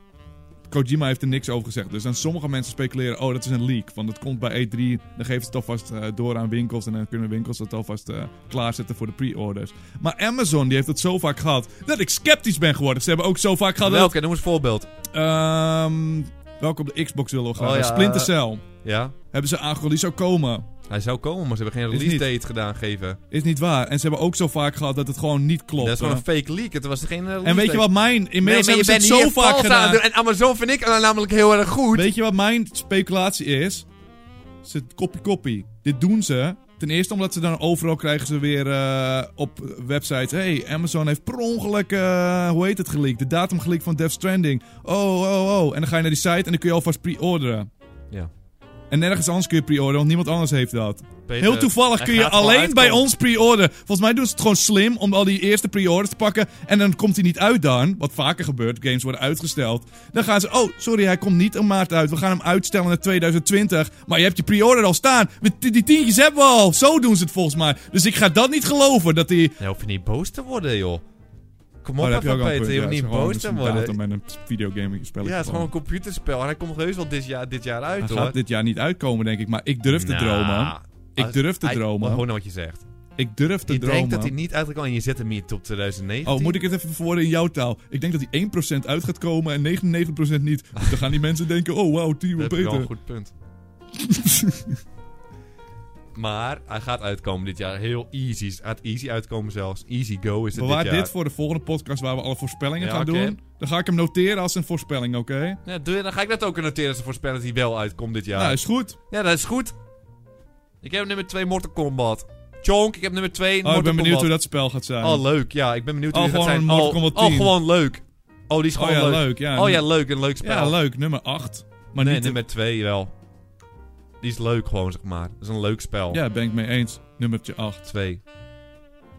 Speaker 1: Kojima heeft er niks over gezegd. Dus dan sommige mensen speculeren, oh, dat is een leak. Want het komt bij E3, dan geven ze het alvast eh, door aan winkels en dan kunnen winkels dat alvast eh, klaarzetten voor de pre-orders. Maar Amazon, die heeft het zo vaak gehad dat ik sceptisch ben geworden. Ze hebben ook zo vaak gehad dat...
Speaker 2: Welke? Noem eens een voorbeeld.
Speaker 1: Ehm, welke op de Xbox willen we gaan?
Speaker 2: Oh ja,
Speaker 1: Splinter
Speaker 2: eh,
Speaker 1: Cell.
Speaker 2: Ja,
Speaker 1: Hebben ze aangekondigd, die zou komen.
Speaker 2: hij zou komen, maar ze hebben geen
Speaker 1: Is
Speaker 2: release
Speaker 1: niet.
Speaker 2: date gedaan geven.
Speaker 1: Is niet waar. En ze hebben ook zo vaak gehad dat het gewoon niet klopt.
Speaker 2: Dat is gewoon
Speaker 1: hè.
Speaker 2: een fake leak. Het was geen eh, release
Speaker 1: En weet je
Speaker 2: date.
Speaker 1: wat mijn...
Speaker 2: Nee,
Speaker 1: Inmiddels
Speaker 2: maar je
Speaker 1: hebben ze
Speaker 2: bent
Speaker 1: het
Speaker 2: hier
Speaker 1: zo vaak
Speaker 2: vals aan
Speaker 1: gedaan.
Speaker 2: het doen. En Amazon vind ik dan namelijk heel erg goed.
Speaker 1: Weet je wat mijn speculatie is? Ze kopie kopie. Dit doen ze. Ten eerste omdat ze dan overal krijgen ze weer eh, op websites. hey, Amazon heeft per ongeluk, eh, hoe heet het geleakt? De datum geleakt van Death Stranding. Oh, oh, oh. En dan ga je naar die site en dan kun je alvast pre-orderen.
Speaker 2: Ja.
Speaker 1: En nergens anders kun je pre-orderen, want niemand anders heeft dat.
Speaker 2: Peter,
Speaker 1: Heel toevallig
Speaker 2: hij
Speaker 1: kun je
Speaker 2: gaat wel
Speaker 1: alleen bij
Speaker 2: uitkomen.
Speaker 1: ons pre-orderen. Volgens mij doen ze het gewoon slim om al die eerste pre-orders te pakken. En dan komt hij niet uit dan. Wat vaker gebeurt, games worden uitgesteld. Dan gaan ze, oh, sorry, hij komt niet in maart uit. We gaan hem uitstellen naar 2020. Maar je hebt je pre-order al staan. We- Die die tientjes hebben we al. Zo doen ze het volgens mij. Dus ik ga dat niet geloven. Dat die... Oh,
Speaker 2: Nee, hoef je niet boos te worden, joh. Kom op
Speaker 1: daar
Speaker 2: even,
Speaker 1: een
Speaker 2: Peter.
Speaker 1: punt.
Speaker 2: Je hoeft
Speaker 1: Ja, het is
Speaker 2: niet
Speaker 1: gewoon-
Speaker 2: boos
Speaker 1: het is
Speaker 2: te
Speaker 1: een
Speaker 2: worden.
Speaker 1: datum en een videogaming spelletje.
Speaker 2: Ja, het is gewoon een computerspel. En hij komt heus wel dit jaar, dit jaar uit,
Speaker 1: Hij
Speaker 2: hoor.
Speaker 1: gaat dit jaar niet uitkomen, denk ik. Maar ik durf te
Speaker 2: Nou,
Speaker 1: dromen. Ik
Speaker 2: als-
Speaker 1: durf te
Speaker 2: hij-
Speaker 1: dromen.
Speaker 2: Hoor nou wat je zegt.
Speaker 1: Ik durf te
Speaker 2: Ik
Speaker 1: dromen.
Speaker 2: denk dat hij niet uitgekomen is en je zet hem hier top 2019.
Speaker 1: Oh, moet ik het even verwoorden in jouw taal? Ik denk dat die 1% uit gaat komen en 99% niet. Dus dan gaan die mensen denken, oh wauw,
Speaker 2: Dat
Speaker 1: team
Speaker 2: heb je wel een
Speaker 1: beter.
Speaker 2: goed
Speaker 1: (laughs)
Speaker 2: punt. Maar hij gaat uitkomen dit jaar. Heel easy. Het gaat easy uitkomen zelfs. Easy go is het
Speaker 1: Bewaar
Speaker 2: dit
Speaker 1: dit,
Speaker 2: jaar.
Speaker 1: voor de volgende podcast waar we alle voorspellingen
Speaker 2: Ja,
Speaker 1: gaan
Speaker 2: oké.
Speaker 1: doen. Dan ga ik hem noteren als een voorspelling, oké?
Speaker 2: Ja, doe je, dan ga ik dat ook noteren als een voorspeller die wel uitkomt dit jaar.
Speaker 1: Nou, is goed.
Speaker 2: Ja, dat is goed. Ik heb nummer 2 Mortal Kombat. Chonk, ik heb nummer 2
Speaker 1: Oh,
Speaker 2: Mortal
Speaker 1: ik ben benieuwd hoe
Speaker 2: Kombat.
Speaker 1: dat spel gaat zijn.
Speaker 2: Oh, leuk. Ja, ik ben benieuwd hoe
Speaker 1: Oh,
Speaker 2: die gaat
Speaker 1: gewoon
Speaker 2: zijn.
Speaker 1: een Mortal
Speaker 2: Oh,
Speaker 1: Kombat
Speaker 2: oh,
Speaker 1: 10.
Speaker 2: gewoon leuk. Oh, die is
Speaker 1: Oh
Speaker 2: gewoon
Speaker 1: ja,
Speaker 2: leuk.
Speaker 1: leuk. Ja,
Speaker 2: Oh ja, leuk. Een leuk spel.
Speaker 1: Ja, leuk. Nummer 8. Maar
Speaker 2: nee,
Speaker 1: niet...
Speaker 2: nummer 2 wel. Die is leuk gewoon, zeg maar. Dat is een leuk spel.
Speaker 1: Ja, ben ik mee eens. Nummertje 8.
Speaker 2: 2.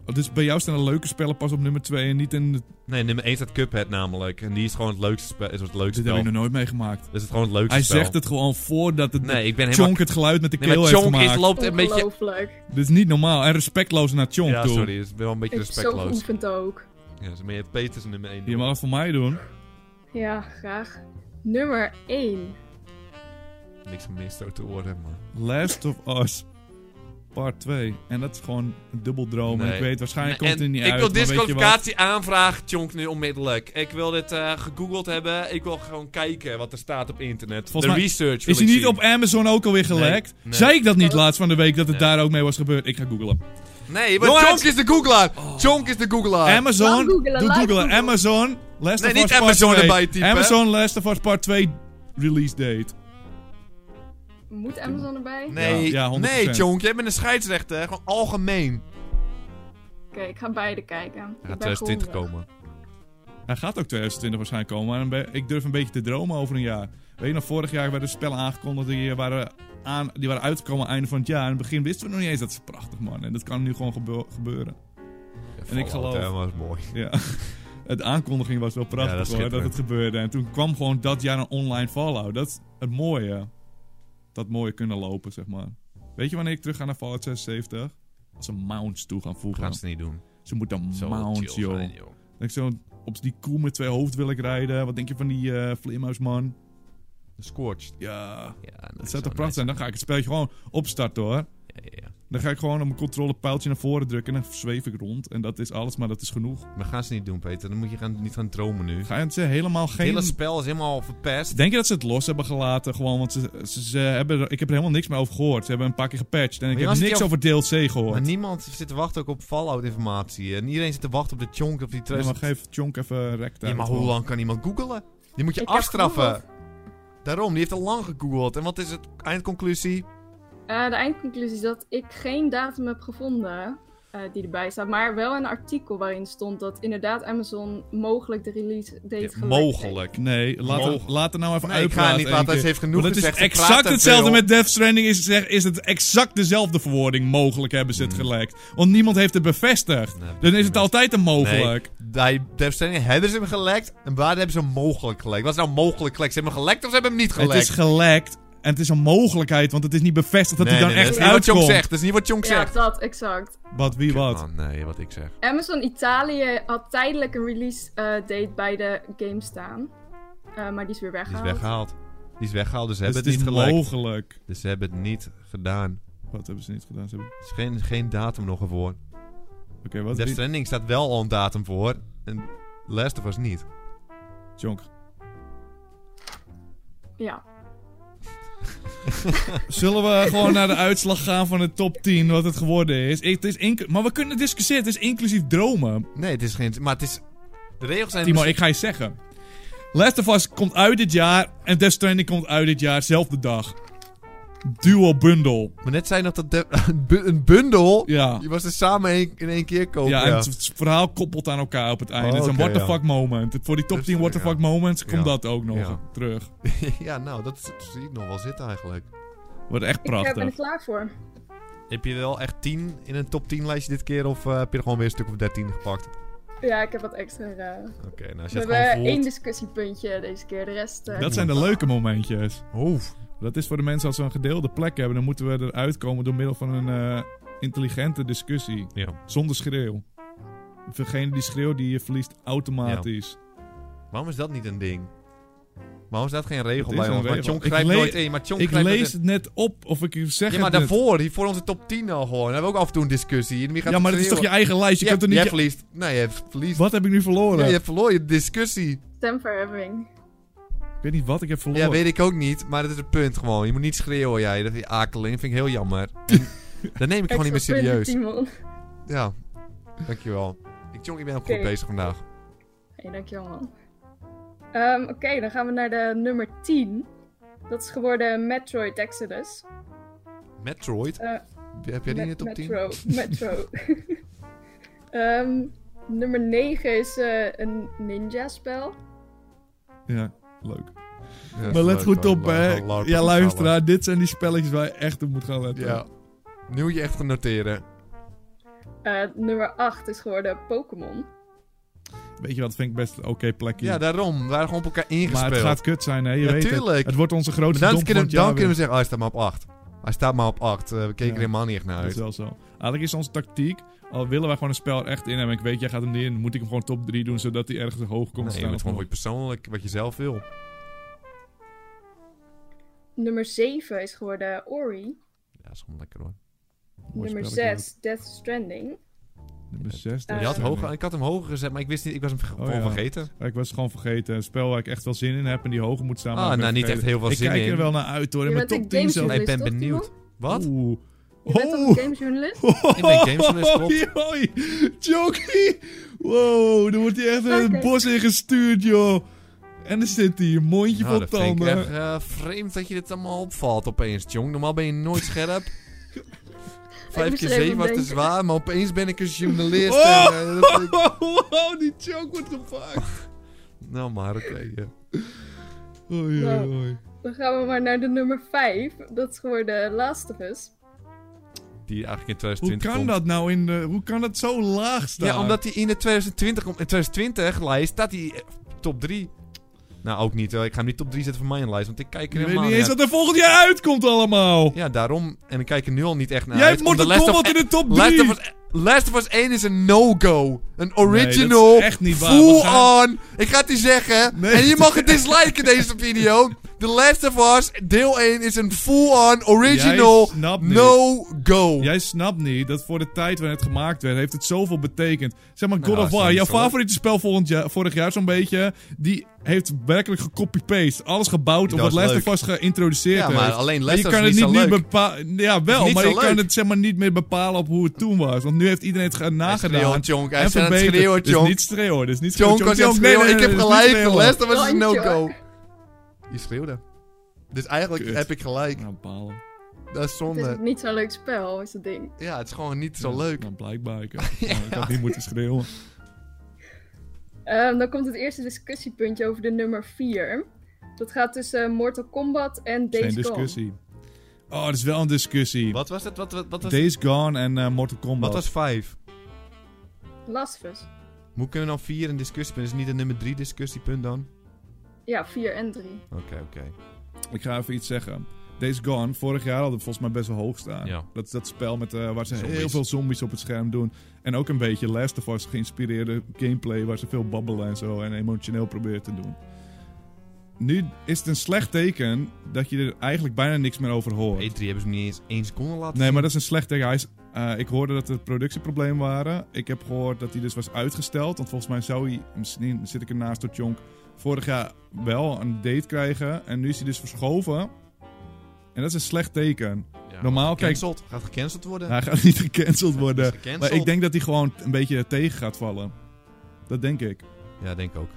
Speaker 1: Oh, dus bij jou staan de leuke spellen pas op nummer 2 en niet in... de-
Speaker 2: Nee, nummer 1 staat Cuphead namelijk. En die is gewoon het leukste spel. Is het leukste
Speaker 1: Dit heb
Speaker 2: spel.
Speaker 1: ik nog nooit meegemaakt.
Speaker 2: Dat is het gewoon het leukste
Speaker 1: Hij
Speaker 2: spel.
Speaker 1: zegt het gewoon voordat het
Speaker 2: Nee, ik ben helemaal...
Speaker 1: Chonk het geluid met de
Speaker 2: Nee,
Speaker 1: keel
Speaker 2: maar
Speaker 1: heeft
Speaker 2: Chonk is,
Speaker 1: gemaakt.
Speaker 2: loopt een beetje...
Speaker 3: Ongelooflijk.
Speaker 1: Dit is niet normaal. En respectloos naar Chonk
Speaker 2: Ja,
Speaker 1: toe.
Speaker 2: sorry. Dat is wel een beetje
Speaker 3: Ik heb zo
Speaker 2: respectloos.
Speaker 3: geoefend ook.
Speaker 2: Ja, dus meer Peters nummer 1.
Speaker 1: Je mag het voor mij doen.
Speaker 3: Ja, graag. Nummer 1.
Speaker 2: Niks om misstoot te worden, maar...
Speaker 1: Last of Us Part 2. En dat is gewoon een dubbeldroom. En
Speaker 2: Nee.
Speaker 1: ik weet, waarschijnlijk
Speaker 2: Nee,
Speaker 1: komt het
Speaker 2: en
Speaker 1: niet
Speaker 2: ik
Speaker 1: uit.
Speaker 2: wil
Speaker 1: maar weet je wat?
Speaker 2: disqualificatie aanvragen, Chonk, nu onmiddellijk. Ik wil dit eh, gegoogeld hebben. Ik wil gewoon kijken wat er staat op internet.
Speaker 1: Volgens
Speaker 2: de
Speaker 1: mij-
Speaker 2: research wil
Speaker 1: Is hij
Speaker 2: ik
Speaker 1: niet
Speaker 2: zien.
Speaker 1: op Amazon ook alweer gelekt?
Speaker 2: nee.
Speaker 1: Zei ik dat niet laatst van de week dat het
Speaker 2: Nee.
Speaker 1: daar ook mee was gebeurd? Ik ga googlen.
Speaker 2: Nee, want
Speaker 1: Jongens! Oh.
Speaker 2: Chonk is de googelaar. Chonk is de googelaar.
Speaker 1: Amazon,
Speaker 3: Laat googlen,
Speaker 1: doe
Speaker 3: laat
Speaker 1: googlen.
Speaker 3: googlen.
Speaker 1: Amazon, Last
Speaker 2: Ah.
Speaker 1: of
Speaker 2: Nee, niet
Speaker 1: Us Part
Speaker 2: Amazon
Speaker 1: 2.
Speaker 2: erbij typen, hè?
Speaker 1: Amazon, Last of Us Part 2 release date.
Speaker 3: Moet Amazon erbij? Oké,
Speaker 2: nee,
Speaker 1: Ja, ja, 100%.
Speaker 2: nee, Chonk, jij bent een scheidsrechter. Gewoon algemeen.
Speaker 3: ik ga beide kijken.
Speaker 2: Hij
Speaker 3: Ik
Speaker 2: gaat
Speaker 3: ben
Speaker 2: 2020
Speaker 3: gehongerig.
Speaker 2: komen.
Speaker 1: Hij gaat ook 2020 waarschijnlijk komen. Maar dan ben- ik durf een beetje te dromen over een jaar. Weet je nog, vorig jaar werden spellen aangekondigd die eh, waren, aan, die waren uitgekomen aan het einde van het jaar. En in het begin wisten we nog niet eens dat ze prachtig man. En dat kan nu gewoon gebe- gebeuren. En ik geloof-
Speaker 2: Dat was mooi.
Speaker 1: Ja. (laughs) De aankondiging was wel
Speaker 2: Ja, dat is
Speaker 1: prachtig hoor, dat
Speaker 2: schitterend.
Speaker 1: het gebeurde. En toen kwam gewoon dat jaar een online Fallout. Dat is het mooie. Dat mooie kunnen lopen, zeg maar. Weet je wanneer ik terug ga naar Fallout 76? Als ze mounts toe gaan voegen.
Speaker 2: Gaan ze niet doen.
Speaker 1: Ze moeten
Speaker 2: Zo
Speaker 1: mounts,
Speaker 2: chill
Speaker 1: joh.
Speaker 2: zijn, joh.
Speaker 1: Dat ik zo op die koe met twee hoofd wil ik rijden. Wat denk je van die eh vleermuis, man?
Speaker 2: Scorched.
Speaker 1: Ja,
Speaker 2: Ja,
Speaker 1: dat
Speaker 2: is
Speaker 1: zou
Speaker 2: wel
Speaker 1: toch prachtig zijn. Dan ga ik het spelletje gewoon opstarten hoor.
Speaker 2: nice. Ja, ja, ja.
Speaker 1: Dan ga ik gewoon op mijn controlepijltje naar voren drukken en dan zweef ik rond. En dat is alles, maar dat is genoeg.
Speaker 2: Maar gaan ze niet doen, Peter. Dan moet je gaan, niet gaan dromen nu.
Speaker 1: Ga je ze helemaal
Speaker 2: Het hele
Speaker 1: geen...
Speaker 2: spel is helemaal verpest.
Speaker 1: Denk je dat ze het los hebben gelaten? Gewoon, want ze, ze, ze hebben er- ik heb er helemaal niks meer over gehoord. Ze hebben een paar keer gepatcht. En ik
Speaker 2: Maar
Speaker 1: heb
Speaker 2: was het
Speaker 1: niks
Speaker 2: jou-
Speaker 1: over DLC gehoord.
Speaker 2: Maar niemand zit te wachten ook op Fallout-informatie. En iedereen zit te wachten op de chonk of die
Speaker 1: Ja, maar
Speaker 2: trust.
Speaker 1: geef Chonk even rekt
Speaker 2: Ja, maar hoe lang kan iemand googelen? Die moet je
Speaker 3: Ik heb
Speaker 2: afstraffen. Daarom, die heeft al lang gegoogeld. En wat is het eindconclusie?
Speaker 3: Eh, de eindconclusie is dat ik geen datum heb gevonden eh, die erbij staat. Maar wel een artikel waarin stond dat inderdaad Amazon mogelijk de release date gelekt heeft.
Speaker 1: Nee, laat, hem-
Speaker 2: Mogen.
Speaker 1: laat er nou even
Speaker 2: Nee, ik
Speaker 1: uitpraten.
Speaker 2: ga niet
Speaker 1: één
Speaker 2: laten.
Speaker 1: keer.
Speaker 2: Hij heeft genoeg
Speaker 1: Want het
Speaker 2: gezegd.
Speaker 1: is
Speaker 2: Ze praten
Speaker 1: exact
Speaker 2: te
Speaker 1: hetzelfde
Speaker 2: veel.
Speaker 1: met Death Stranding. Is, zeg- is het exact dezelfde verwoording mogelijk hebben ze het gelekt. Want niemand heeft het bevestigd.
Speaker 2: Mm. Nee,
Speaker 1: Dan is het altijd een mogelijk.
Speaker 2: Die Death Stranding, hebben ze hem gelekt? En waar hebben ze hem mogelijk gelekt? Wat is nou mogelijk gelekt? Ze hebben hem gelekt of ze hebben hem niet gelekt?
Speaker 1: het is gelekt. En het is een mogelijkheid, want het is niet bevestigd dat hij dan
Speaker 2: nee,
Speaker 1: echt
Speaker 2: dat is niet wat Chonk
Speaker 1: uitkomt.
Speaker 2: zegt. Dat is niet wat Chonk
Speaker 3: Ja,
Speaker 2: zegt.
Speaker 3: dat, exact.
Speaker 1: Wat, wie, wat?
Speaker 2: Oh, nee, wat ik zeg.
Speaker 3: Amazon Italië had tijdelijk een release eh, date bij de game staan. Eh, maar die is weer
Speaker 2: Die is
Speaker 3: weggehaald.
Speaker 2: weggehaald. Die is weggehaald, dus ze
Speaker 1: Dus
Speaker 2: hebben
Speaker 1: het is
Speaker 2: het niet gelekt.
Speaker 1: mogelijk.
Speaker 2: Dus ze hebben het niet gedaan.
Speaker 1: Wat hebben ze niet gedaan? Ze hebben...
Speaker 2: Er is geen, geen datum nog ervoor.
Speaker 1: Oké, wat?
Speaker 2: Death
Speaker 1: wie-
Speaker 2: Stranding staat wel al een datum voor. En Last of Us niet.
Speaker 1: Chonk.
Speaker 3: Ja.
Speaker 1: Zullen we gewoon
Speaker 2: (laughs)
Speaker 1: naar de uitslag gaan van de top 10, wat het geworden is? Ik- het is inc- maar we kunnen discussiëren, het is inclusief dromen.
Speaker 2: Nee, het is geen... Maar het is... De regels zijn... dus-
Speaker 1: Timo, ik ga je zeggen. Last of Us komt uit dit jaar en Death Stranding komt uit dit jaar, zelfde dag. Duo bundle.
Speaker 2: Maar net zei je nog dat de- (laughs) een bu- een bundel...
Speaker 1: Ja.
Speaker 2: Je was er samen een- in één keer kopen.
Speaker 1: Ja,
Speaker 2: Oh, Ja,
Speaker 1: en het het verhaal koppelt aan elkaar op het einde.
Speaker 2: Oh,
Speaker 1: het is een
Speaker 2: oké,
Speaker 1: what the
Speaker 2: ja.
Speaker 1: fuck moment. Het- Voor die top
Speaker 2: Dus,
Speaker 1: 10 what the
Speaker 2: ja.
Speaker 1: fuck moments komt
Speaker 2: Ja.
Speaker 1: dat ook nog
Speaker 2: Ja.
Speaker 1: terug. (laughs)
Speaker 2: ja nou, dat is- zie ik nog wel zitten eigenlijk.
Speaker 1: Wordt echt
Speaker 3: Ik eh, ben er
Speaker 1: prachtig.
Speaker 3: klaar voor.
Speaker 2: Heb je wel echt 10 in een top 10 lijstje dit keer? Of eh, heb je er gewoon weer een stuk of 13 gepakt? Oké,
Speaker 3: Ja, ik heb wat extra. eh,
Speaker 2: nou als
Speaker 3: we
Speaker 2: je het
Speaker 3: hebben
Speaker 2: gewoon
Speaker 3: één
Speaker 2: voelt...
Speaker 3: discussiepuntje deze keer. De rest. eh,
Speaker 1: Dat zijn de leuke momentjes.
Speaker 2: Oef.
Speaker 1: Dat is voor de mensen als ze een gedeelde plek hebben. Dan moeten we eruit komen door middel van een eh, intelligente discussie.
Speaker 2: Ja.
Speaker 1: Zonder schreeuw. Degene die schreeuwt, die verliest automatisch.
Speaker 2: Waarom is dat niet een ding? Waarom staat geen regel
Speaker 1: Het
Speaker 2: bij
Speaker 1: is
Speaker 2: ons?
Speaker 1: een
Speaker 2: Maar
Speaker 1: regel.
Speaker 2: John
Speaker 1: Ik
Speaker 2: grijpt
Speaker 1: le-
Speaker 2: nooit in. Maar John
Speaker 1: Ik
Speaker 2: grijpt nooit
Speaker 1: lees het net op of ik zeg
Speaker 2: in. Ja, maar
Speaker 1: het net.
Speaker 2: daarvoor, hier voor onze top 10 al gewoon. Dan hebben we ook af en toe een discussie. En wie gaat
Speaker 1: Ja, maar
Speaker 2: het
Speaker 1: dat is toch je
Speaker 2: heel-
Speaker 1: eigen lijst? Je
Speaker 2: Ja,
Speaker 1: hebt er
Speaker 2: Jij
Speaker 1: niet...
Speaker 2: verliest. Nee, je hebt verliest.
Speaker 1: Wat heb ik nu
Speaker 2: Ja,
Speaker 1: verloren?
Speaker 2: je hebt verloren je discussie.
Speaker 3: Stemverheffing.
Speaker 1: Ik weet niet wat ik heb verloren.
Speaker 2: Ja, weet ik ook niet. Maar dat is het punt gewoon. Je moet niet schreeuwen, jij. Dat is akeling. Vind ik heel
Speaker 1: (laughs)
Speaker 2: jammer. En dat neem ik gewoon niet meer
Speaker 3: Extra punten,
Speaker 2: serieus.
Speaker 3: Timon.
Speaker 2: Ja, dankjewel. Ik, John, ik ben ook goed
Speaker 3: Oké.
Speaker 2: bezig vandaag.
Speaker 3: Hey, dankjewel man. Ehm, Oké, dan gaan we naar de nummer 10. Dat is geworden Metroid Exodus.
Speaker 2: Metroid?
Speaker 3: Eh,
Speaker 2: heb jij die in de
Speaker 3: Met-
Speaker 2: top 10?
Speaker 3: Metro. (laughs) Metro. Ehm, nummer 9 is eh, een ninja spel.
Speaker 1: Ja, leuk.
Speaker 2: Ja, dat
Speaker 1: maar
Speaker 2: is
Speaker 1: let
Speaker 2: leuk, eh,
Speaker 1: goed
Speaker 2: hoor.
Speaker 1: op, hè.
Speaker 2: Leuk, leuk,
Speaker 1: Ja,
Speaker 2: leuk.
Speaker 1: luisteraar, dit zijn die spelletjes waar je echt op moet gaan letten.
Speaker 2: Ja. Nu moet je echt gaan noteren.
Speaker 3: Eh, nummer 8 is geworden Pokémon.
Speaker 1: Weet je wat, vind ik best een oké plekje.
Speaker 2: Ja, daarom. We waren gewoon op elkaar ingespeeld.
Speaker 1: maar het gaat kut zijn, hè. Je
Speaker 2: Ja,
Speaker 1: weet het.
Speaker 2: tuurlijk.
Speaker 1: Het wordt onze
Speaker 2: Maar
Speaker 1: grootste
Speaker 2: dan
Speaker 1: domp van
Speaker 2: kunnen,
Speaker 1: het
Speaker 2: dan
Speaker 1: jaar
Speaker 2: kunnen we
Speaker 1: weer.
Speaker 2: zeggen, oh, hij staat maar op 8. Hij staat maar op 8. we keken
Speaker 1: Ja.
Speaker 2: er helemaal niet echt naar
Speaker 1: Dat is
Speaker 2: uit.
Speaker 1: wel zo. Eigenlijk is onze tactiek, al willen wij gewoon een spel echt in hebben. Ik weet, jij gaat hem niet in. Moet ik hem gewoon top 3 doen, zodat hij ergens hoog komt
Speaker 2: Nee, je
Speaker 1: staan.
Speaker 2: moet
Speaker 1: of
Speaker 2: gewoon
Speaker 1: wat?
Speaker 2: wat je persoonlijk, wat je zelf wil.
Speaker 3: Nummer 7 is geworden Ori.
Speaker 2: Ja, dat is gewoon lekker hoor.
Speaker 1: Mooi
Speaker 3: nummer
Speaker 1: spelletje
Speaker 3: 6 Death Stranding.
Speaker 1: Nummer 6.
Speaker 3: Ja,
Speaker 2: Je had hoog, ik had hem hoger gezet, maar ik wist niet, ik was hem gewoon
Speaker 1: Oh ja.
Speaker 2: vergeten.
Speaker 1: Ik was gewoon vergeten. Een spel waar ik echt wel zin in heb en die hoger moet staan. maar
Speaker 2: Ah,
Speaker 1: ik ben
Speaker 2: nou, niet
Speaker 1: vergeten.
Speaker 2: echt heel veel
Speaker 1: ik
Speaker 2: zin
Speaker 1: kijk
Speaker 2: in.
Speaker 1: er wel naar uit, hoor. In
Speaker 3: Je
Speaker 1: mijn
Speaker 3: bent
Speaker 1: top
Speaker 3: een
Speaker 1: 10 zelf.
Speaker 2: Nee, ik ben
Speaker 3: Toch, Timon?
Speaker 2: benieuwd. Wat?
Speaker 1: Oeh.
Speaker 3: Je bent toch
Speaker 1: Oh.
Speaker 3: een gamejournalist?
Speaker 1: Ik
Speaker 2: ben
Speaker 1: (laughs)
Speaker 2: gamesjournalist, klopt.
Speaker 1: Hoi, Jokie. Wow, dan wordt hij echt
Speaker 3: Oké.
Speaker 1: het bos ingestuurd, joh. En dan zit hij, mondje
Speaker 2: Nou,
Speaker 1: vol
Speaker 2: dat vind ik
Speaker 1: tanden.
Speaker 2: echt eh, vreemd dat je dit allemaal opvalt opeens, jong. Normaal ben je nooit
Speaker 1: (laughs)
Speaker 2: scherp. Vijf
Speaker 3: moest
Speaker 2: keer
Speaker 3: er even
Speaker 2: zeven was te
Speaker 3: denken.
Speaker 2: zwaar, maar opeens ben ik een journalist.
Speaker 1: Oh!
Speaker 2: En, eh, dat vind ik-
Speaker 1: (laughs) wow, die joke wordt gepakt.
Speaker 2: Nou, maar oké. ja.
Speaker 1: Oei, oei,
Speaker 3: Nou.
Speaker 1: oei.
Speaker 3: Dan gaan we maar naar de nummer 5. Dat is geworden Last of Us.
Speaker 2: Die eigenlijk in
Speaker 1: Hoe
Speaker 2: 2020
Speaker 1: kan
Speaker 2: komt.
Speaker 1: dat nou in de... Hoe kan dat zo laag staan?
Speaker 2: Ja, omdat hij in de 2020, komt. in 2020 lijst staat hij eh, top 3. Nou, ook niet. hoor. Ik ga hem niet top 3 zetten van mijn lijst, want ik kijk er
Speaker 1: Ik weet
Speaker 2: helemaal
Speaker 1: niet
Speaker 2: niet
Speaker 1: eens
Speaker 2: naar.
Speaker 1: wat er volgend jaar uitkomt allemaal.
Speaker 2: Ja, daarom. En ik kijk er nu al niet echt naar
Speaker 1: Jij
Speaker 2: uit.
Speaker 1: hebt Mortal
Speaker 2: omdat Last of-
Speaker 1: Kombat in de top
Speaker 2: Last
Speaker 1: 3.
Speaker 2: of Us- Last of Us 1 is een no-go. Een original.
Speaker 1: Nee, dat is echt niet waar.
Speaker 2: Full
Speaker 1: We gaan-
Speaker 2: on. Ik ga het je zeggen.
Speaker 1: Nee.
Speaker 2: En je mag het disliken deze video. The Last of Us deel 1 is een full-on original
Speaker 1: Jij snapt niet.
Speaker 2: no-go.
Speaker 1: Jij snapt niet dat voor de tijd waarin het gemaakt werd, heeft het zoveel betekend. Zeg maar God
Speaker 2: Nou,
Speaker 1: of
Speaker 2: is dat
Speaker 1: War,
Speaker 2: niet
Speaker 1: jouw
Speaker 2: zo?
Speaker 1: favoriete spel volgend jaar, vorig jaar zo'n beetje, die heeft werkelijk gecopy-paste. Alles gebouwd op
Speaker 2: Dat
Speaker 1: wat
Speaker 2: is
Speaker 1: Last
Speaker 2: leuk.
Speaker 1: of Us geïntroduceerd
Speaker 2: Ja, maar
Speaker 1: heeft.
Speaker 2: alleen
Speaker 1: Maar
Speaker 2: Last
Speaker 1: je
Speaker 2: of
Speaker 1: kan
Speaker 2: Us
Speaker 1: het
Speaker 2: is
Speaker 1: niet
Speaker 2: niet
Speaker 1: meer
Speaker 2: zo leuk.
Speaker 1: bepalen. Ja, wel,
Speaker 2: Is niet
Speaker 1: maar
Speaker 2: zo
Speaker 1: je kan
Speaker 2: leuk.
Speaker 1: het zeg maar niet meer bepalen op hoe het toen was. Want nu heeft iedereen het ge- nagedaan.
Speaker 2: schreeuwt, Jonk. Hij
Speaker 1: en
Speaker 2: is aan het
Speaker 1: verbeterd.
Speaker 2: schreeuwen,
Speaker 1: Dit is
Speaker 2: Jonk.
Speaker 1: niet schreeuwen, dit is niet
Speaker 2: John
Speaker 1: schreeuwen.
Speaker 2: was aan het
Speaker 1: nee, nee,
Speaker 2: schreeuwen. Ik
Speaker 1: nee, dit
Speaker 2: heb
Speaker 1: is niet
Speaker 2: gelijk. The
Speaker 1: schreeuwen.
Speaker 2: Last of Us is een
Speaker 3: Landje,
Speaker 2: no-go. Je schreeuwde. Dus eigenlijk
Speaker 1: Kut.
Speaker 2: heb ik gelijk.
Speaker 1: Nou, balen.
Speaker 2: Dat is
Speaker 3: Het is ook
Speaker 2: zonde.
Speaker 3: niet zo'n leuk spel, is het ding.
Speaker 2: Ja, het is gewoon niet zo
Speaker 1: Ja,
Speaker 2: leuk.
Speaker 1: Nou, blijkbaar. Ik,
Speaker 2: (laughs)
Speaker 1: nou, ik had niet moeten schreeuwen.
Speaker 3: Ehm, dan komt het eerste discussiepuntje over de nummer 4. Dat gaat tussen Mortal Kombat en
Speaker 1: Geen
Speaker 3: Days Gone.
Speaker 1: discussie. Oh, dat is wel een discussie.
Speaker 2: Wat was dat? Wat, wat, wat was,
Speaker 1: Days Gone en eh, Mortal Kombat.
Speaker 2: wat was 5?
Speaker 3: Last of Us.
Speaker 2: Hoe kunnen we dan 4 een discussiepunt? Is het niet een nummer 3 discussiepunt dan?
Speaker 3: Ja, 4 en 3.
Speaker 2: Oké, oké.
Speaker 1: Ik ga even iets zeggen. Days Gone, vorig jaar hadden we volgens mij best wel hoog staan.
Speaker 2: Ja.
Speaker 1: Dat is dat spel met, eh, waar ze
Speaker 2: Zombies.
Speaker 1: heel veel zombies op het scherm doen. En ook een beetje Last of Us geïnspireerde gameplay... waar ze veel babbelen en zo en emotioneel proberen te doen. Nu is het een slecht teken dat je er eigenlijk bijna niks meer over hoort.
Speaker 2: E3 hebben ze hem niet eens 1 seconde laten
Speaker 1: Nee,
Speaker 2: zien.
Speaker 1: maar dat is een slecht ding. Hij is, eh, ik hoorde dat er productieproblemen waren. Ik heb gehoord dat hij dus was uitgesteld. Want volgens mij zou hij, misschien zit ik ernaast tot Jonk, vorig jaar wel een date krijgen. En nu is hij dus verschoven. En dat is een slecht teken.
Speaker 2: Ja,
Speaker 1: normaal, kijk-
Speaker 2: gecanceld. Gaat gecanceld worden.
Speaker 1: Hij gaat niet gecanceld
Speaker 2: Is
Speaker 1: worden.
Speaker 2: gecanceld.
Speaker 1: Maar ik denk dat hij gewoon een beetje tegen gaat vallen. Dat denk ik.
Speaker 2: Ja, denk ook.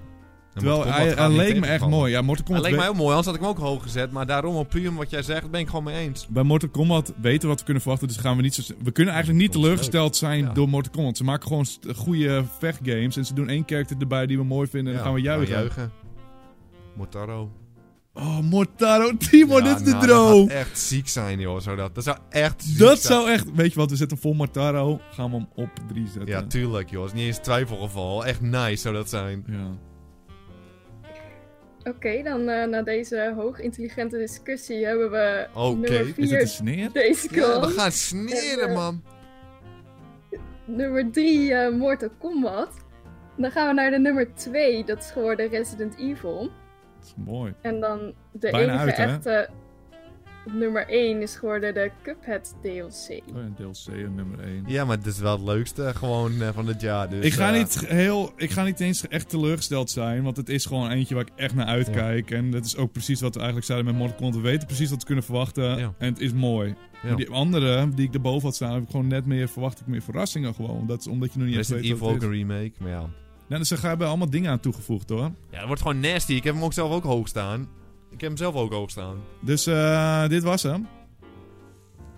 Speaker 1: Terwijl hij, hij leek me echt mooi. Ja, Mortal
Speaker 2: Hij
Speaker 1: Kombat
Speaker 2: leek mij
Speaker 1: we-
Speaker 2: ook mooi, anders had ik hem ook hoog gezet. Maar daarom, op puur wat jij zegt, ben ik gewoon mee eens.
Speaker 1: bij Mortal Kombat weten we wat we kunnen verwachten. Dus gaan we niet zo. We kunnen eigenlijk niet
Speaker 2: Mortal Kombat is
Speaker 1: teleurgesteld zijn
Speaker 2: Ja.
Speaker 1: door Mortal Kombat. Ze maken gewoon st- goede vechtgames. En ze doen één character erbij die we mooi vinden. En
Speaker 2: Ja,
Speaker 1: dan gaan we juichen.
Speaker 2: Mortaro.
Speaker 1: Oh, Mortaro Timo,
Speaker 2: Ja,
Speaker 1: dit is de
Speaker 2: nou,
Speaker 1: droom.
Speaker 2: Dat zou echt ziek zijn, joh. Zou dat. dat zou echt ziek
Speaker 1: Dat
Speaker 2: zijn.
Speaker 1: zou echt. Weet je wat, we zetten hem vol Mortaro. Gaan we hem op 3 zetten.
Speaker 2: Ja, tuurlijk, joh. is niet eens twijfelgeval. Echt nice zou dat zijn.
Speaker 1: Ja.
Speaker 3: Oké, dan eh, na deze hoog intelligente discussie hebben we
Speaker 2: Oké,
Speaker 3: nummer
Speaker 1: Is
Speaker 2: is
Speaker 1: het een
Speaker 3: 4
Speaker 1: sneer?
Speaker 3: Days
Speaker 2: Ja,
Speaker 3: Gone.
Speaker 2: we gaan sneren,
Speaker 3: Ja.
Speaker 2: man.
Speaker 3: Nummer 3 eh, Mortal Kombat. Dan gaan we naar de nummer 2. Dat is geworden Resident Evil.
Speaker 1: Dat is mooi.
Speaker 3: En dan de
Speaker 1: Bijna
Speaker 3: enige
Speaker 1: uit, hè?
Speaker 3: echte nummer 1 is geworden de Cuphead DLC.
Speaker 1: Oh, en DLC en nummer 1.
Speaker 2: Ja, maar het is wel het leukste gewoon eh, van dit jaar. Dus,
Speaker 1: ik, ga
Speaker 2: eh,
Speaker 1: niet heel, ik ga niet eens echt teleurgesteld zijn, want het is gewoon eentje waar ik echt naar uitkijk. En dat is ook precies wat we eigenlijk zeiden met Mortal Kombat. We weten precies wat we kunnen verwachten
Speaker 2: Ja.
Speaker 1: en het is mooi.
Speaker 2: Ja.
Speaker 1: Maar die andere, die ik erboven had staan, heb ik gewoon net meer, verwacht ik meer verrassingen gewoon. Dat is omdat je nog niet eens
Speaker 2: Resident
Speaker 1: weet
Speaker 2: Evil
Speaker 1: wat
Speaker 2: ook
Speaker 1: het is.
Speaker 2: een remake, maar ja.
Speaker 1: Ja, dus ze hebben allemaal dingen aan toegevoegd hoor.
Speaker 2: Ja, dat wordt gewoon nasty. Ik heb hem ook zelf ook hoog staan. Ik heb hem zelf ook hoog staan.
Speaker 1: Dus eh, dit was hem.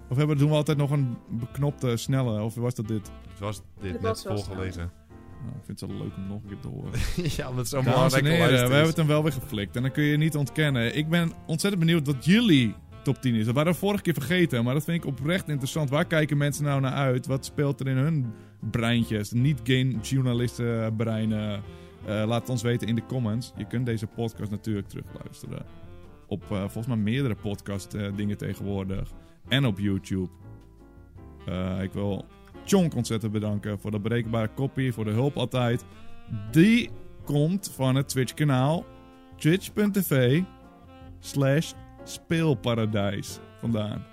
Speaker 1: Of hebben, doen we altijd nog een beknopte snelle, of was dat dit?
Speaker 2: Het was dit
Speaker 3: Het
Speaker 2: net
Speaker 3: was
Speaker 2: (laughs)
Speaker 3: wel
Speaker 2: volgelezen.
Speaker 1: Nou, ik vind het wel leuk om nog een keer te horen.
Speaker 2: ja, omdat het zo
Speaker 1: Dames
Speaker 2: belangrijk
Speaker 1: en
Speaker 2: geluisterd
Speaker 1: heren,
Speaker 2: is.
Speaker 1: we hebben het hem wel weer geflikt. En dan kun je niet ontkennen. Ik ben ontzettend benieuwd wat jullie top 10 is. Dat waren we vorige keer vergeten, maar dat vind ik oprecht interessant. Waar kijken mensen nou naar uit? Wat speelt er in hun breintjes? Niet geen journalisten breinen. Eh, laat het ons weten in de comments. Je kunt deze podcast natuurlijk terugluisteren. Op eh, volgens mij meerdere podcast eh, dingen tegenwoordig. En op YouTube. Eh, ik wil Chonk ontzettend bedanken voor de berekenbare kopie, voor de hulp altijd. Die komt van het Twitch-kanaal twitch.tv slash speelparadijs vandaan.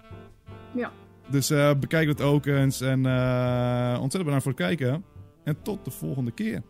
Speaker 3: Ja.
Speaker 1: Dus eh, bekijk dat ook eens en eh, ontzettend bedankt voor het kijken. En tot de volgende keer.